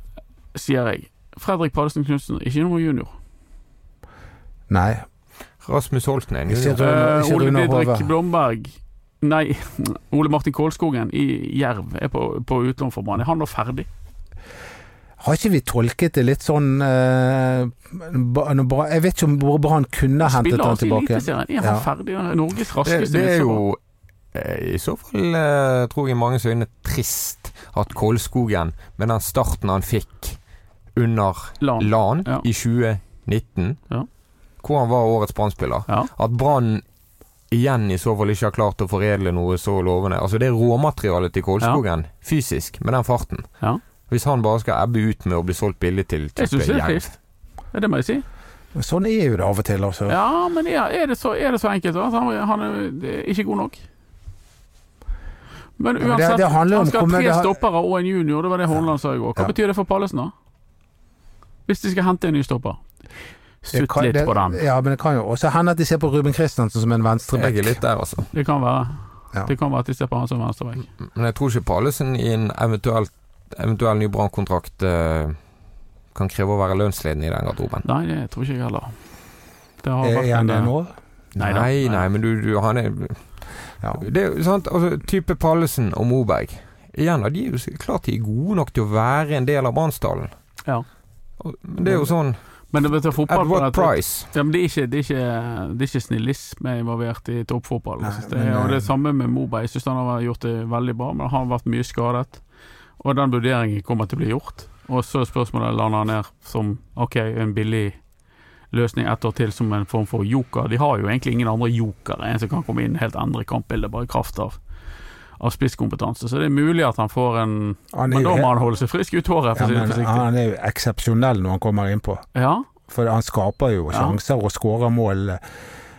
sier jeg Fredrik Paddesen Knutsen, ikke noe junior. Nei. Rasmus Holten er en Ikke junior. sant. Rune- Eh, ikke Ole Rune Didrik Hove. Blomberg Nei, <laughs> Ole Martin Kålskogen i Jerv er på, på utlån for Brann. Er han nå ferdig? Har ikke vi tolket det litt sånn eh, ba- når Brann- Jeg vet ikke om hvor Brann kunne hentet Spiller han altså i tilbake. Eliteserien. Er han Ja. ferdig? Han er Norges Det, raskeste det er midtstopper. jo eh, i så fall, eh, tror jeg i manges øyne, trist at Kolskogen, med den starten han fikk under Lan. LAN Ja. i 2019, Ja. hvor han var årets Brann-spiller. Ja. At Brann igjen i så fall ikke har klart å foredle noe så lovende. Altså Det er råmaterialet til Kolskogen, fysisk, med den farten. Ja. Hvis han bare skal ebbe ut med å bli solgt billig til Jeg type synes det er Jerv. trist. Ja, Det må jeg si. Sånn er jo det av og til, altså. Ja, men er, er, det, så, er det så enkelt? da? Altså, han, han er det er ikke god nok. Men men det- uansett, det handler om han skal hvor ha mye det tre har- stoppere og en junior, det var det Horneland sa i går. Hva Ja. betyr det for Pallesen, da? Hvis de skal hente en ny stopper? Det Sutt kan- litt det- på den. Ja, men det kan jo også hende at de ser på Ruben Kristiansen som en venstreback. Jeg er litt der, altså. Det kan være. Ja. Det kan være at de ser på han som venstreback. Men jeg tror ikke Pallesen i en eventuell, eventuell ny Brann-kontrakt eh, kan kreve å være lønnsledende i den garderoben. Nei, det tror ikke jeg heller. Det har Er vært han en, eh, det nå? Nei da. nei, Nei. men du, du han er Ja. Det er jo sant, altså type Pallesen og Moberg. Igjen, da, de er jo så- klart de er gode nok til å være en del av Brannsdalen. Ja. Og- Men det er jo sånn Men det, vet du, At fotball på what dette- price? Ja, men det er ikke, det er ikke, det er ikke snillisme involvert i toppfotball. Nei, synes jeg. men, og eh, det er samme med Moberg. Jeg syns han har gjort det veldig bra, men han har vært mye skadet. Og den vurderingen kommer til å bli gjort. Og så er spørsmålet lander han ned som OK, en billig løsning ett år til som en form for joker. De har jo egentlig ingen andre jokere, en som kan komme inn og helt endre kampbildet, bare i kraft av, av spisskompetanse. Så det er mulig at han får en Han er Men jo da helt- må han holde seg frisk ut håret, ja, for å si det men forsiktig. han er jo eksepsjonell når han kommer innpå. Ja, For han skaper jo Ja. sjanser og skårer mål.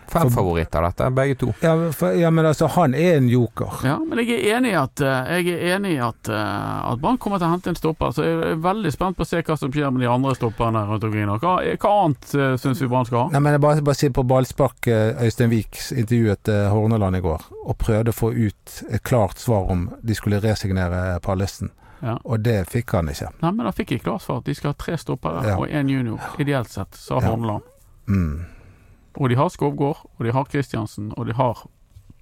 Fem For- favoritter, dette, begge to. Ja, for, ja, men altså, han er en joker. Ja, men jeg er enig i at, eh, jeg er enig i at, eh, at Brann kommer til å hente en stopper. Så jeg er veldig spent på å se hva som skjer med de andre stopperne rundt omkring. nå. Hva, hva annet uh, syns vi Brann skal ha? Nei, men jeg bare, bare si på ballspark eh, Øystein Wiik intervjuet eh, Horneland i går og prøvde å få ut et klart svar om de skulle resignere Pallesen, Ja. og det fikk han ikke. Nei, men da fikk jeg klart svar at de skal ha tre stoppere Ja. og én junior, ideelt sett, sa Ja. Horneland. Mm. Og de har Skovgård, og de har Kristiansen, og de har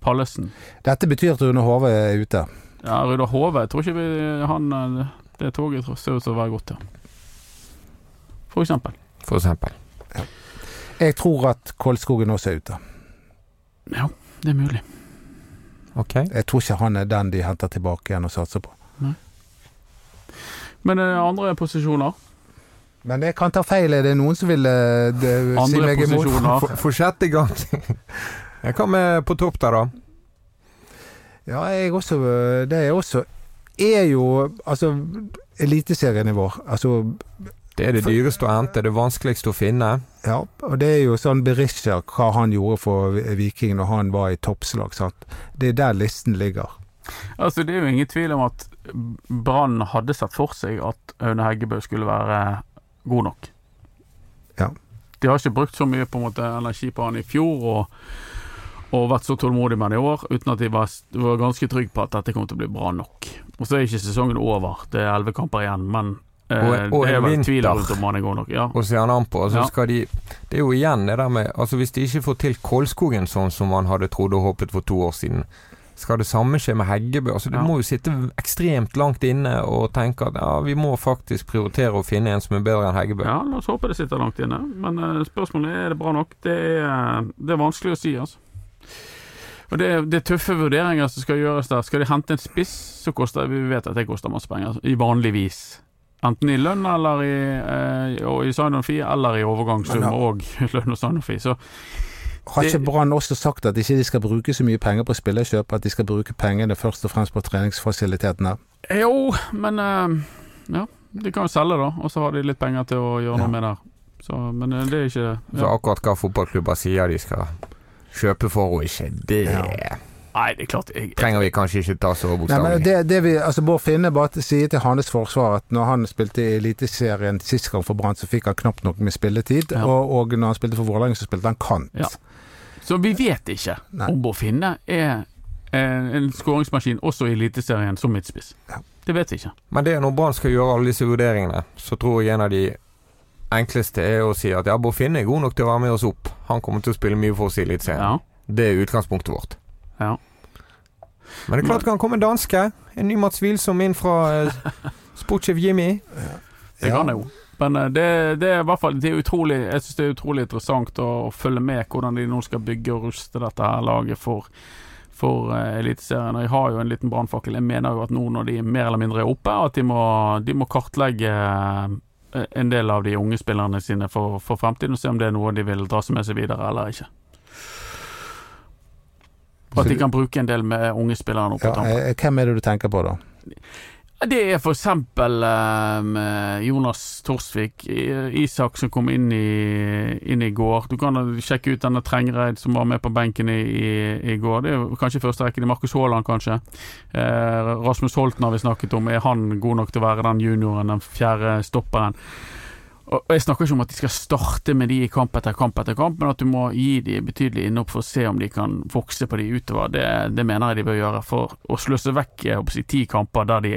Pallesen. Dette betyr at Rune Hove er ute. Ja, Rudar Hove, jeg tror ikke vi, han eh, Det toget tror- ser ut til å være godt, ja. For eksempel. For eksempel. Jeg tror at Kolskogen også er ute. Ja, det er mulig. Ok. Jeg tror ikke han er den de henter tilbake igjen og satser på. Men eh, andre posisjoner? Men jeg kan ta feil. Er det noen som vil eh, det- si Andre meg imot? <laughs> posisjoner? For, for sjette gang. <laughs> Jeg kommer på topp der, da. Ja, jeg også Det er også Er jo Altså, eliteserien i vår. Altså Det er det For- dyreste å hente, det vanskeligste å finne. Ja, og det er jo sånn Berisha, hva han gjorde for Viking når han var i toppslag. Sant? Det er der listen ligger. Altså, det er jo ingen tvil om at Brann hadde sett for seg at Aune Heggebø skulle være god nok. Ja. De har ikke brukt så mye på en måte energi på han i fjor, og, og vært så tålmodig med han i år, uten at de var, var ganske trygge på at dette kom til å bli bra nok. Og så er ikke sesongen over, det er elleve kamper igjen, men eh, Og- og det er en vel tvil vinter. rundt om han er god nok. Ja. Og se han an på. Og så Ja. skal de Det er jo igjen det der med Altså Hvis de ikke får til Kolskogen sånn som man hadde trodd og håpet for to år siden, skal det samme skje med Heggebø? Altså Du Ja. må jo sitte ekstremt langt inne og tenke at ja, vi må faktisk prioritere å finne en som er bedre enn Heggebø. ja, la oss håpe det sitter langt inne, men eh, spørsmålet er er det bra nok. Det er, eh, det er vanskelig å si, altså. Og det er, det er tøffe vurderinger som skal gjøres der. Skal de hente en spiss, så koster vi vet at det koster masse penger, altså, i vanlig vis. Enten i lønn eller i, eh, og i sign on fee, eller i overgangssum Men, ja. og <laughs> lønn og sign on fee. Så Har ikke Det- Brann også sagt at ikke de skal bruke så mye penger på spillerkjøp, at de skal bruke pengene først og fremst på treningsfasilitetene? jo, men eh, Ja, de kan jo selge, da, og så har de litt penger til å gjøre Ja. noe med der. Så, men eh, det er ikke Så ja. akkurat hva fotballklubber sier de skal kjøpe for og ikke, det Ja. Nei, det er klart jeg, Trenger vi kanskje ikke ta så Nei, men bokstavelig. det, det vi, altså Bård Finne bare sier til hans forsvar at når han spilte i Eliteserien sist gang for Brann, så fikk han knapt nok med spilletid. Ja. Og, og når han spilte for Vålerenga, så spilte han kant. Ja. Så vi vet ikke Nei. om Bård Finne er en, en skåringsmaskin også i Eliteserien som midtspiss. Ja. Det vet vi ikke. Men det når Brann skal gjøre alle disse vurderingene, så tror jeg en av de enkleste er å si at ja, Bofinne er god nok til å være med oss opp. Han kommer til å spille mye for oss i Eliteserien. Ja. Det er utgangspunktet vårt. Ja. Men det er klart kan komme en danske. En ny Mats Wilsom inn fra eh, sportssjef Jimmy. Det Ja. kan jeg jo. Men eh, det, det er i hvert fall det er utrolig, Jeg syns det er utrolig interessant å følge med hvordan de nå skal bygge og ruste dette her laget for, for eh, Eliteserien. Og jeg har jo en liten brannfakkel. Jeg mener jo at nå når de mer eller mindre er oppe, at de må, de må kartlegge eh, en del av de unge spillerne sine for, for fremtiden, og se om det er noe de vil dra seg med seg videre eller ikke. Og at de kan bruke en del med unge spillere nå på Ja, tampen. eh, hvem er det du tenker på da? Det er for eksempel eh, Jonas Torsvik, I- Isak som kom inn i, inn i går. Du kan sjekke ut denne Trengereid som var med på benken i, i, i går. Det er jo kanskje i første rekke. Det er Markus Haaland, kanskje. Eh, Rasmus Holten har vi snakket om. Er han god nok til å være den junioren, den fjerde stopperen? Og og Jeg snakker ikke om at de skal starte med de i kamp etter kamp etter kamp, men at du må gi de betydelig innhopp for å se om de kan vokse på de utover. Det, det mener jeg de bør gjøre. For å sløse vekk jeg håper å si, ti kamper der de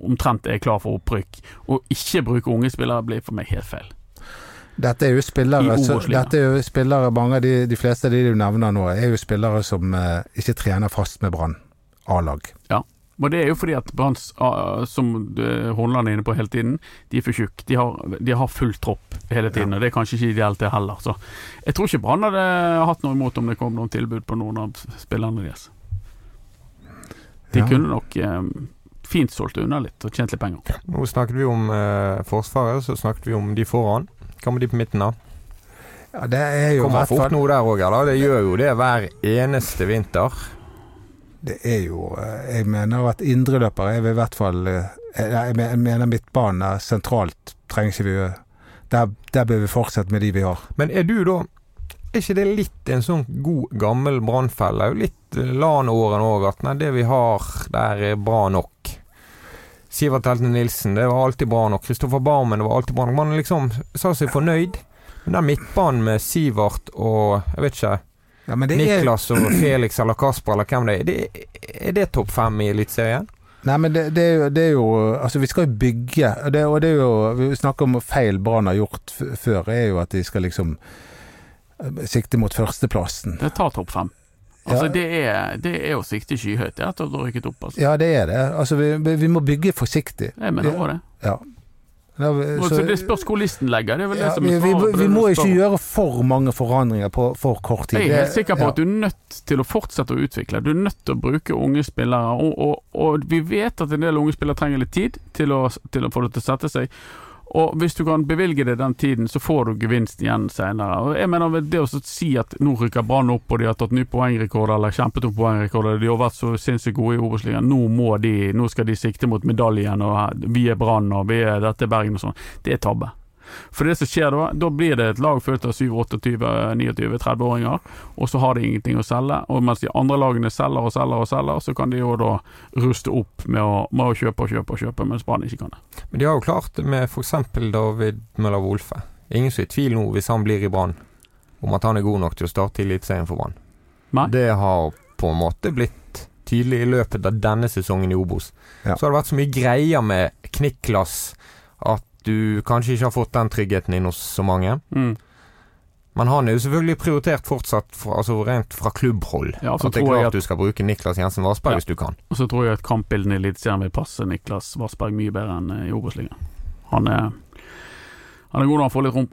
omtrent er klar for opprykk, og ikke bruke unge spillere, blir for meg helt feil. Dette er jo I spillere, så, Obos-ligaen. dette er jo spillere mange av de, de fleste av de du nevner nå, er jo spillere som eh, ikke trener fast med Brann A-lag. Og det er jo fordi at Branns, ah, som eh, Horneland er inne på hele tiden, de er for tjukke. De, har- de har full tropp hele tiden, og det er kanskje ikke ideelt det heller. Så jeg tror ikke Brann hadde hatt noe imot om det kom noen tilbud på noen av spillerne deres. De Ja. kunne nok eh, fint solgt unna litt og tjent litt penger. Nå snakket vi om eh, Forsvaret, så snakket vi om de foran. Hva med de på midten, da? Ja, det er jo i Kommer hvert fort fall nå der òg, eller? Det gjør jo det hver eneste vinter. Det er jo eh, Jeg mener at indreløpere er vi i hvert fall eh, Jeg jeg men- jeg mener midtbanen er sentralt trenger ikke vi eh, Der, der bør vi fortsette med de vi har. Men er du da Er ikke det litt en sånn god, gammel brannfelle? Litt eh, LAN-åren òg, at nei, det vi har der er bra nok. Sivert Helten Nilsen, det var alltid bra nok. Kristoffer Barmen, det var alltid bra nok. Man liksom sa seg fornøyd. Men den midtbanen med Sivert og jeg vet ikke, Ja, men det er, Niklas og Felix eller Kasper eller hvem det er, det, er det topp fem i Eliteserien? nei, men det, det, er jo, det er jo Altså, vi skal jo bygge, og det, og det er jo Vi snakker om feil Brann har gjort f før, er jo at de skal liksom eh, sikte mot førsteplassen. Det tar topp fem. Altså, Ja. det, er, det er å sikte skyhøyt det er etter at du har rykket opp. Altså. Ja, det er det. Altså, vi, vi- vi må bygge forsiktig. Jeg mener også det. Da vi- Og så det spørs hvor listen legger. Det er vel det ja, som vi, er vi, svaret på vi det må du ikke spør om. gjøre for mange forandringer på for kort tid. Jeg er helt Det- sikker på ja. at du er nødt til å fortsette å utvikle. Du er nødt til å bruke unge spillere. Og, og, og vi vet at en del unge spillere trenger litt tid til å, til å få det til å sette seg. Og hvis du kan bevilge deg den tiden, så får du gevinst igjen senere. Og jeg mener vel det å så si at nå rykker Brann opp, og de har tatt ny poengrekord, eller kjempet om poengrekord, og de har vært så sinnssykt gode i Obos-ligaen, nå må de, nå skal de sikte mot medaljen, og vi er Brann, og vi er dette Bergen og sånn. Det er tabbe. For det som skjer da, da blir det et lag fullt av 27-28-29-30-åringer, og så har de ingenting å selge. Og mens de andre lagene selger og selger og selger, så kan de jo da ruste opp med å, med å kjøpe og kjøpe og kjøpe, mens Brann ikke kan det. Men de har jo klart det med f.eks. David Møller Wolfe. Ingen som er i tvil nå, hvis han blir i Brann, om at han er god nok til å starte i Eliteserien for Brann. Nei. Det har på en måte blitt tydelig i løpet av denne sesongen i Obos. Ja. Så har det vært så mye greier med Kniklas at du kanskje ikke har fått den tryggheten inn hos så mange. Mm. Men han er jo selvfølgelig prioritert fortsatt, fra- altså rent fra klubbhold. Ja, så at det er tror jeg klart at- du skal bruke Niklas Jensen Vassberg Ja. hvis du kan. Og så tror jeg at kampbildene i Eliteserien vil passe Niklas Vassberg mye bedre enn eh, i Obos-ligaen. Han, er- han er god når han får litt rom,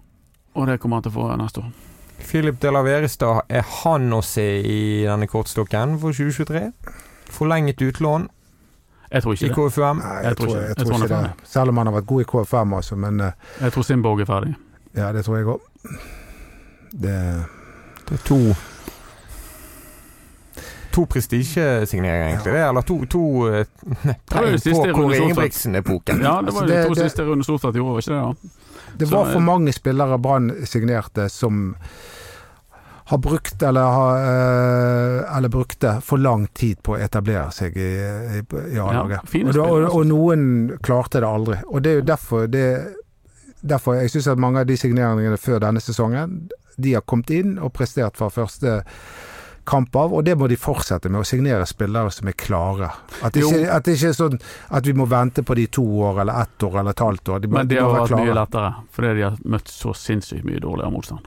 og det kommer han til å få neste år. Philip de la Verestad, er han å se i denne kortstokken for 2023? Forlenget utlån Jeg tror i ikke det. KFUM. Nei, Jeg jeg tror, tror ikke- jeg jeg tror tror ikke han er det. Selv om han har vært god i KFM også, men eh, Jeg tror Simborg er ferdig. ja, det tror jeg òg. Det Det er to To prestisjesigneringer, egentlig. Det, eller to, to eh, <laughs> var jo tegn det på siste i Rune Kåre Solstad. Ingebrigtsen-epoken. Ja, det Altså, var jo de det- to det- siste Rune Solstad gjorde, var ikke det? da? Det Så, var for eh, mange spillere Brann signerte som har brukt eller, har, eh, eller brukte for lang tid på å etablere seg i, i, i Ja, A-laget. fine og, da- og, spillere, altså. og noen klarte det aldri. Og det er jo derfor, det, derfor jeg syns at mange av de signeringene før denne sesongen, de har kommet inn og prestert fra første kamp av, og det må de fortsette med, å signere spillere som er klare. At det Jo. ikke, at det ikke er sånn at vi må vente på de to år, eller ett år, eller et halvt år. De, må- Men det de har må være vært mye klare. lettere, fordi de har møtt så sinnssykt mye dårligere motstand.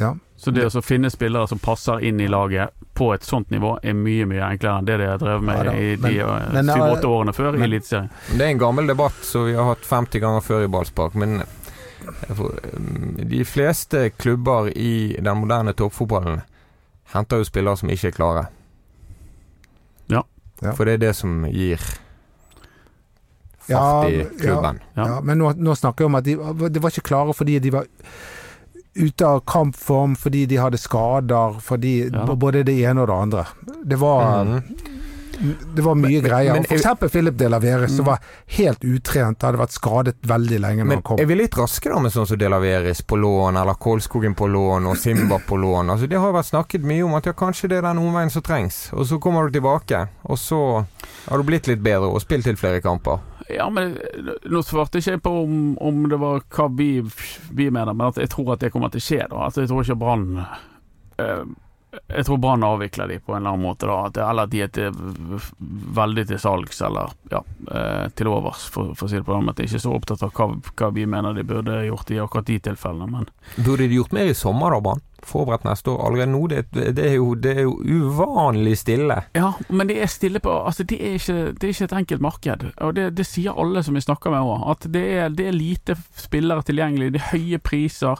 Ja. Så det å så finne spillere som passer inn i laget på et sånt nivå, er mye mye enklere enn det de har drevet med Ja da, i de men- eh, men- syv-åtte årene før i men- Eliteserien. Det er en gammel debatt som vi har hatt 50 ganger før i ballspark, men eh, jeg får- mm, de fleste klubber i den moderne toppfotballen henter jo spillere som ikke er klare. Ja. Ja. For det er det som gir Ja, fart i ja. klubben. Ja. Ja. men nå, nå snakker jeg om at de, de var ikke klare fordi de var ute av kampform, fordi de hadde skader, fordi Ja. b- både det ene og det andre. Det var, Mhm. det var mye Men- men- greier. men- Mhm. For eksempel Philip de la Vere, som var helt utrent, hadde vært skadet veldig lenge når Men han kom. er vi litt raske da med sånn som Delaveris på lån, eller Kolskogen på lån, og Simba på lån? Altså Det har vært snakket mye om at ja, kanskje det er den omveien som trengs. Og så kommer du tilbake, og så har du blitt litt bedre og spilt til flere kamper. Ja, men Nå svarte ikke jeg på om, om det var hva vi, vi mener, men at jeg tror at det kommer til å skje. da Altså Jeg tror ikke Brann eh, Jeg tror Brann avvikler de på en eller annen måte. da at, det- Eller at de er til, veldig til salgs, eller ja, eh, til overs, for, for å si det på den måten. Jeg er ikke så opptatt av hva, hva vi mener de burde gjort i akkurat de tilfellene, men Burde de gjort mer i sommer, da, Brann? Forberedt neste år. Allerede nå, det, det, er jo, det er jo uvanlig stille. Ja, men det er stille på Altså, det er ikke, det er ikke et enkelt marked. Og det, det sier alle som vi snakker med òg, at det er, det er lite spillere tilgjengelig. Det er høye priser.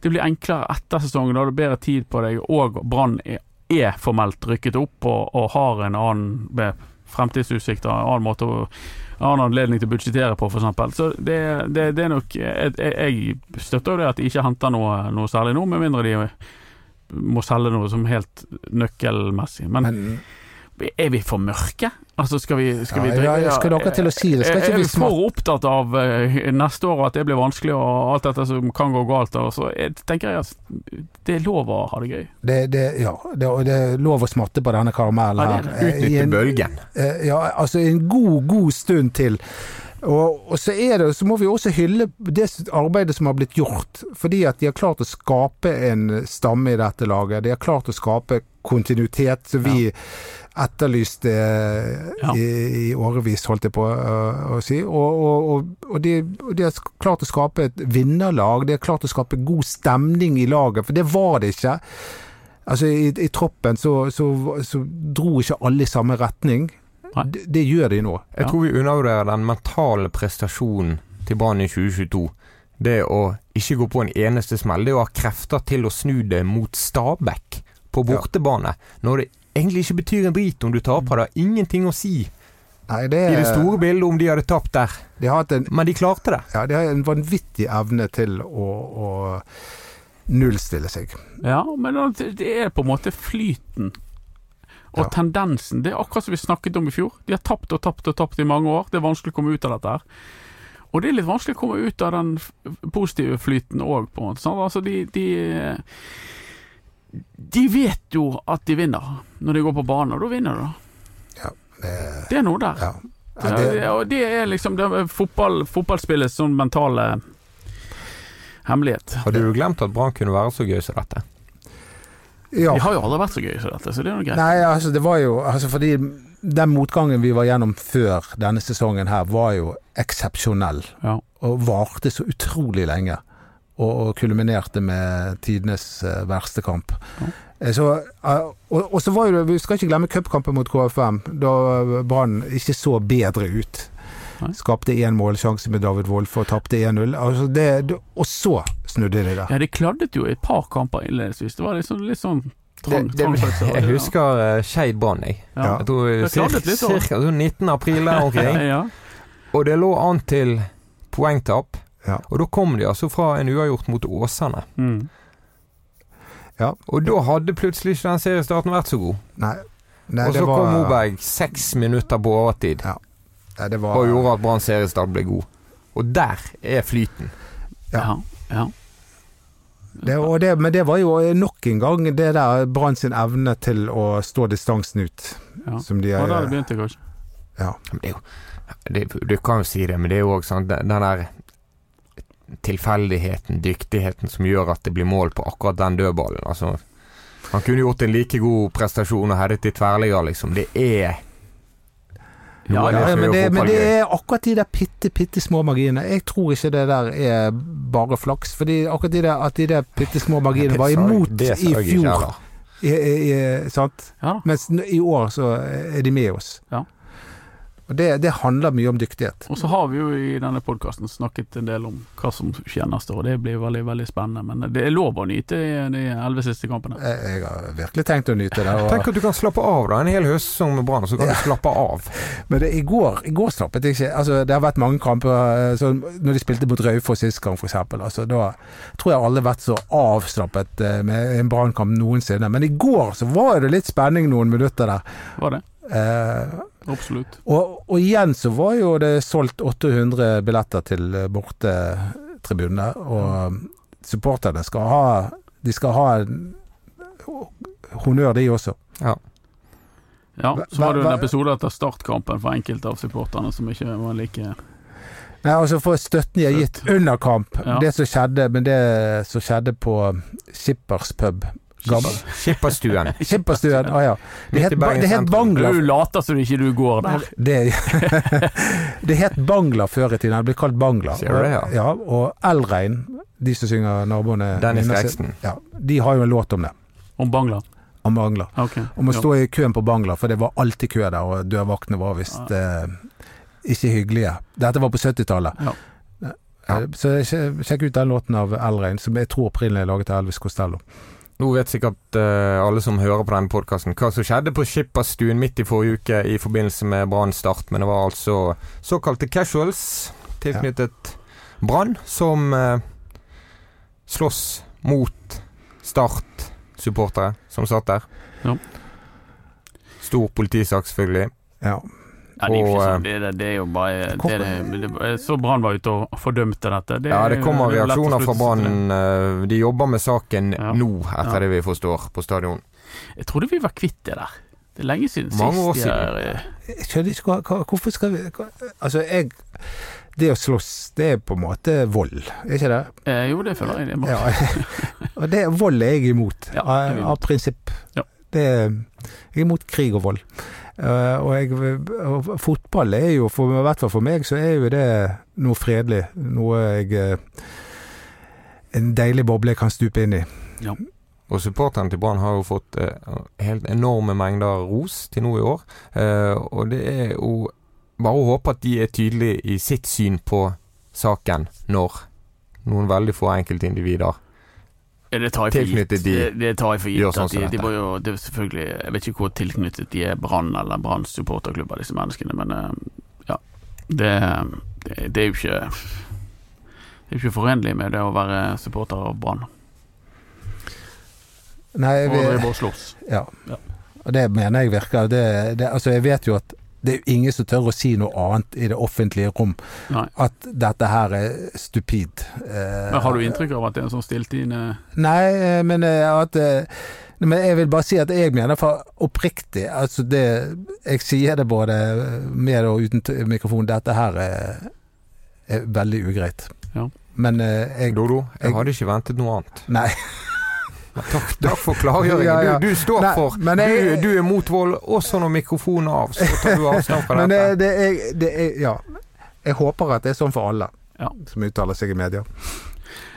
Det blir enklere etter sesongen, da har du bedre tid på deg, og Brann er, er formelt rykket opp og, og har en annen med fremtidsutsikter, en annen måte å en annen anledning til å budsjettere på, f.eks. Så det, det, det er nok Jeg, jeg støtter jo det at de ikke henter noe, noe særlig nå, med mindre de må selge noe som helt nøkkelmessig. Men Men- er vi for mørke? Altså, skal vi, skal vi ja, ja, jeg skal dere til å si det? Skal er ikke vi vi smarte? for opptatt av eh, neste år og at det blir vanskelig og alt dette som kan gå galt? Og så jeg, tenker jeg at det er lov å ha det gøy. Det, det, ja, det, og det er lov å smatte på denne karamellen Ja, her. det er eh, i en- Utnytte bølgen. Eh, ja, altså en god, god stund til. Og, og så er det, så må vi også hylle det s- arbeidet som har blitt gjort. Fordi at de har klart å skape en stamme i dette laget. De har klart å skape kontinuitet som vi etterlyste eh, Ja. i, i årevis, holdt jeg på eh, å si. Og, og, og, og, de, og de har sk- klart å skape et vinnerlag. De har klart å skape god stemning i laget, for det var det ikke. Altså, i, i troppen så, så, så dro ikke alle i samme retning. Nei. Det, det gjør de nå. Jeg Ja. tror vi undervurderer den mentale prestasjonen til Brann i 2022. Det å ikke gå på en eneste smell. Det å ha krefter til å snu det mot Stabæk på Ja. bortebane. Når det egentlig ikke betyr en drit om du taper. Det har ingenting å si i Nei, det, det store bildet om de hadde tapt der. de har hatt en, Men de klarte det. ja, de har en vanvittig evne til å, å nullstille seg. Ja, men da- det det er på en måte flyten og Ja. tendensen. Det er akkurat som vi snakket om i fjor. De har tapt og tapt og tapt i mange år. Det er vanskelig å komme ut av dette her. Og det er litt vanskelig å komme ut av den f- positive flyten òg, på en måte. Sant? Altså, de, de De vet jo at de vinner når de går på banen, og da vinner de, da. Det, Det er noe der. ja. Ja, Ja, det, det, og det er liksom det er fotball, fotballspillets sånn mentale hemmelighet. Hadde du glemt at Brann kunne være så gøy som dette? ja. Det har jo aldri vært så gøy som dette, så det er jo greit. Nei, altså det var jo altså, Fordi den motgangen vi var gjennom før denne sesongen her, var jo eksepsjonell. Ja. Og varte så utrolig lenge. Og, og kulminerte med tidenes eh, verste kamp. Ja. Eh, Så, eh, og, og så var jo det Vi skal ikke glemme cupkampen mot KFM, da Brann ikke så bedre ut. Nei. Skapte én målsjanse med David Wolff og tapte 1-0. Altså det- det- og så snudde de det. Ja, det kladdet jo i et par kamper innledningsvis. Det var litt sånn, litt sånn trang, Det- det- trang følelse. <laughs> Jeg husker uh, Skeid Brann, jeg. Ja. Jeg tror Det kladdet litt, da. ca. 19. april der omkring. <laughs> Ja, ja. Og det lå an til poengtap. Ja. Og da kom de altså fra en uavgjort mot Åsane. Mm. Og da hadde plutselig ikke den seriestarten vært så god. Nei, nei og så kom Moberg seks minutter på overtid Nei, det var, og gjorde at Brann seriestart ble god. Og der er flyten. Ja. ja. ja. Det, og det, men det var jo nok en gang det der Brann sin evne til å stå distansen ut. Ja. Som de eh, Ja, er, der det begynte, kanskje. ja. Men det er jo, det, du kan jo si det, men det er jo òg sånn den den der tilfeldigheten, dyktigheten, som gjør at det blir mål på akkurat den dødballen. Altså, han kunne gjort en like god prestasjon og headet i tverrligger, liksom. Det er Ja, noe av Ja, det ja, som men, gjør det, men fotball det gøy. er akkurat de der bitte, bitte små marginene. Jeg tror ikke det der er bare flaks. Fordi akkurat de der, at de der bitte små marginene var Det sa jeg- imot det sa i jeg ikke fjor. heller. I, i, i, sant? Ja da. Mens n- i år så er de med oss. Ja. Og det, det handler mye om dyktighet. Og så har vi jo i denne podkasten snakket en del om hva som skjer neste år. Det blir veldig veldig spennende. Men det er lov å nyte de elleve siste kampene. Jeg, jeg har virkelig tenkt å nyte det. Og, Tenk at du kan slappe av da, en hel høst som Brann, så kan du slappe av. Men det, i går, i går slappet jeg ikke altså, Det har vært mange kamper eh, sånn, Når de spilte mot Raufoss sist gang f.eks. Altså, da tror jeg alle har vært så avslappet eh, med en brannkamp noensinne. Men i går så var det litt spenning noen minutter der. Var det? Eh, Absolutt. og, og igjen så var jo det solgt 800 billetter til eh, bortetribunene. Og supporterne skal ha De skal ha en honnør, de også. Ja, så var det jo Hva- en hva- episode etter startkampen for enkelte av supporterne som ikke var like Nei, altså for støtten jeg har gitt under kamp. Ja. Det som skjedde, men det som skjedde på Skippers pub. Gammel- Skipperstuen. Skipperstuen, ah, ja. Det Midt het, i Ba- Bergen det het sentrum. Bangla. Du later som ikke du går der. Det, <laughs> det het Bangla før i tiden. Det ble kalt Bangla. Sier du det, ja? Og- ja, og Elrein, de som synger naboene Dennis mine, Reksten. Ja, de har jo en låt om det. Om Bangla. Om Bangla. Ok. Om å Ja. stå i køen på Bangla, for det var alltid kø der, og dørvaktene var visst eh, ikke hyggelige. Dette var på 70-tallet. Ja. Eh, Så sj- sjekk ut den låten av Elrein, som jeg tror opprinnelig er laget av Elvis Costello. Nå vet sikkert eh, alle som hører på denne podkasten hva som skjedde på Skipperstuen midt i forrige uke i forbindelse med Brann start, men det var altså såkalte casuals tilknyttet Brann som eh, slåss mot Start-supportere som satt der. Ja. Stor politisak, selvfølgelig. Ja. Ja, det, er jo Og, ikke eh, sånn. det, er det, det er jo bare det er det, det, er- Så Brann var ute og fordømte dette. Ja, det kommer er jo lett å reaksjoner fra slutte seg til det. Brann. eh, De jobber med saken Ja. nå, Ja. etter det vi forstår, på stadion. Jeg trodde vi var kvitt det der. Det er lenge siden Mange år sist. de siden. er, eh, Jeg skjønner ikke hva, hva Hvorfor skal vi hva, Altså, jeg Det å slåss, det er på en måte vold, er ikke det? eh, Jo, det føler jeg. Det må. Ja. <laughs> Og det vold er jeg imot, Ja, det er av, vi imot. av prinsipp. Ja. Det, jeg er imot krig og vold. Eh, og, jeg, og fotball er jo, for, i hvert fall for meg, så er jo det noe fredelig. Noe jeg eh, En deilig boble jeg kan stupe inn i. Og supporterne til Brann har jo fått eh, helt enorme mengder ros til nå i år. Eh, og det er jo bare å håpe at de er tydelige i sitt syn på saken når noen veldig få enkeltindivider Ja, Det tar jeg for gitt. Tilknyttet de det, det tar jeg for gjør gitt sånn at som de, de dette. var jo, det er selvfølgelig, Jeg vet ikke hvor tilknyttet de er Brann eller Branns supporterklubber, disse menneskene, men eh, ja. Det, det, det er jo ikke Det er jo ikke forenlig med det å være supporter av Brann. Nei, Og vi, drive og slåss. ja. Ja. Og det mener jeg virker det, det, Altså, jeg vet jo at det er jo ingen som tør å si noe annet i det offentlige rom Nei. at dette her er stupid. Eh, Men har du inntrykk av at det er en sånn stilltiende Nei, eh, men eh, at eh, men jeg vil bare si at jeg mener for oppriktig altså det, Jeg sier det både med og uten t- mikrofon. Dette her er, er veldig ugreit. Ja. Men eh, jeg Dodo, jeg jeg- hadde ikke ventet noe annet. Nei. <laughs> Takk, takk for klargjøringen. Ja, ja. Du, du står Nei, for men jeg- du, du er mot vold, også når mikrofonen er av. Så tar du avstand fra <laughs> Men dette. eh, det er, det er Ja. Jeg håper at det er sånn for alle Ja. som uttaler seg i media.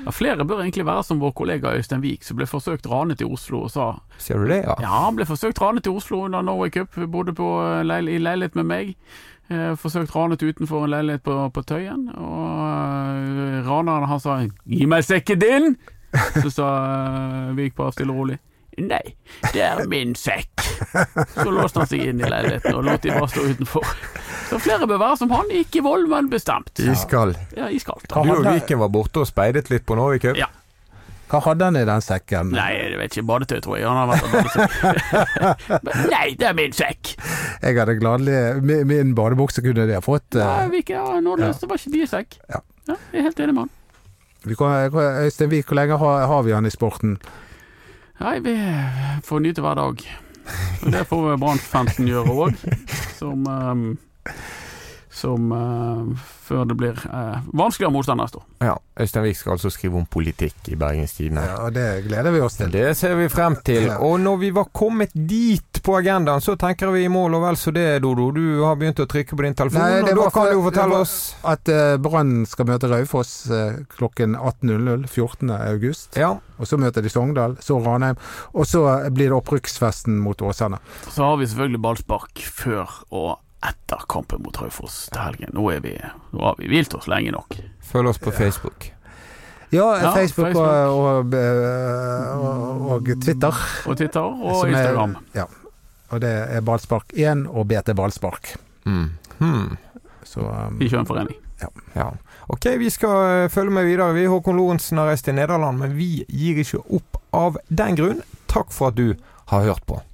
ja, Flere bør egentlig være som vår kollega Øystein Wiik, som ble forsøkt ranet i Oslo og sa Ser du det, ja? Ja, han ble forsøkt ranet i Oslo under Norway Cup. Bodde på, eh, leil i leilighet med meg. Eh, forsøkt ranet utenfor en leilighet på, på Tøyen. Og eh, raneren han sa 'gi meg sekken din', så sa eh, Vik bare stille og rolig. Nei, det er min sekk. Så låste han seg inn i leiligheten og lot de bare stå utenfor. Så flere bør være som han, ikke i vold, men bestemt. Iskald. Ja, iskaldt. Hva Du og handler- Viken var borte og speidet litt på Norway Cup. Ja. Hva hadde han i den sekken? Nei, jeg vet ikke. Badetøy, tror jeg. Han har vært og badesekk. Men Nei, det er min sekk. Jeg hadde gladelig Min, min badebukse kunne de ha fått. eh, Nei, vi ikke, ja, Nordløs, det var ikke de sekk. Ja. Ja, jeg er helt enig med han. Vi kan- kan- Øystein Wiik, hvor lenge har, har vi han i sporten? Nei, vi får nyte hver dag. Og det får Brann-fansen gjøre òg, som ehm, som ehm, før det blir eh, vanskeligere motstand neste år. Ja, Øystein Wiik skal altså skrive om politikk i Bergens Tidende. Ja, og det gleder vi oss til. Det ser vi frem til. Ja. Og når vi var kommet dit på agendaen, så tenker vi i mål og vel så det, Dodo. Du har begynt å trykke på din telefon, Nei, det og da var for- kan du jo det fortelle var- oss At eh, Brann skal møte Raufoss eh, klokken 18.00 14. august. Ja, Og så møter de Sogndal, så Ranheim. Og så eh, blir det opprykksfesten mot Åsane. Så har vi selvfølgelig ballspark før og etter kampen mot Raufoss til helgen. Nå, er vi, nå har vi hvilt oss lenge nok. følg oss på Facebook. Ja, Ja, Facebook, Facebook. Og, og, eh, og, og Twitter. Og Twitter og som er- Instagram. Ja. Og det er ballspark 1 og BT ballspark. Mm. Hmm. Så um, I Kjønforening. Ja. Ok, vi skal eh, følge med videre. Vi, Håkon Lorentzen har reist til Nederland, men vi gir ikke opp av den grunn. Takk for at du har hørt på.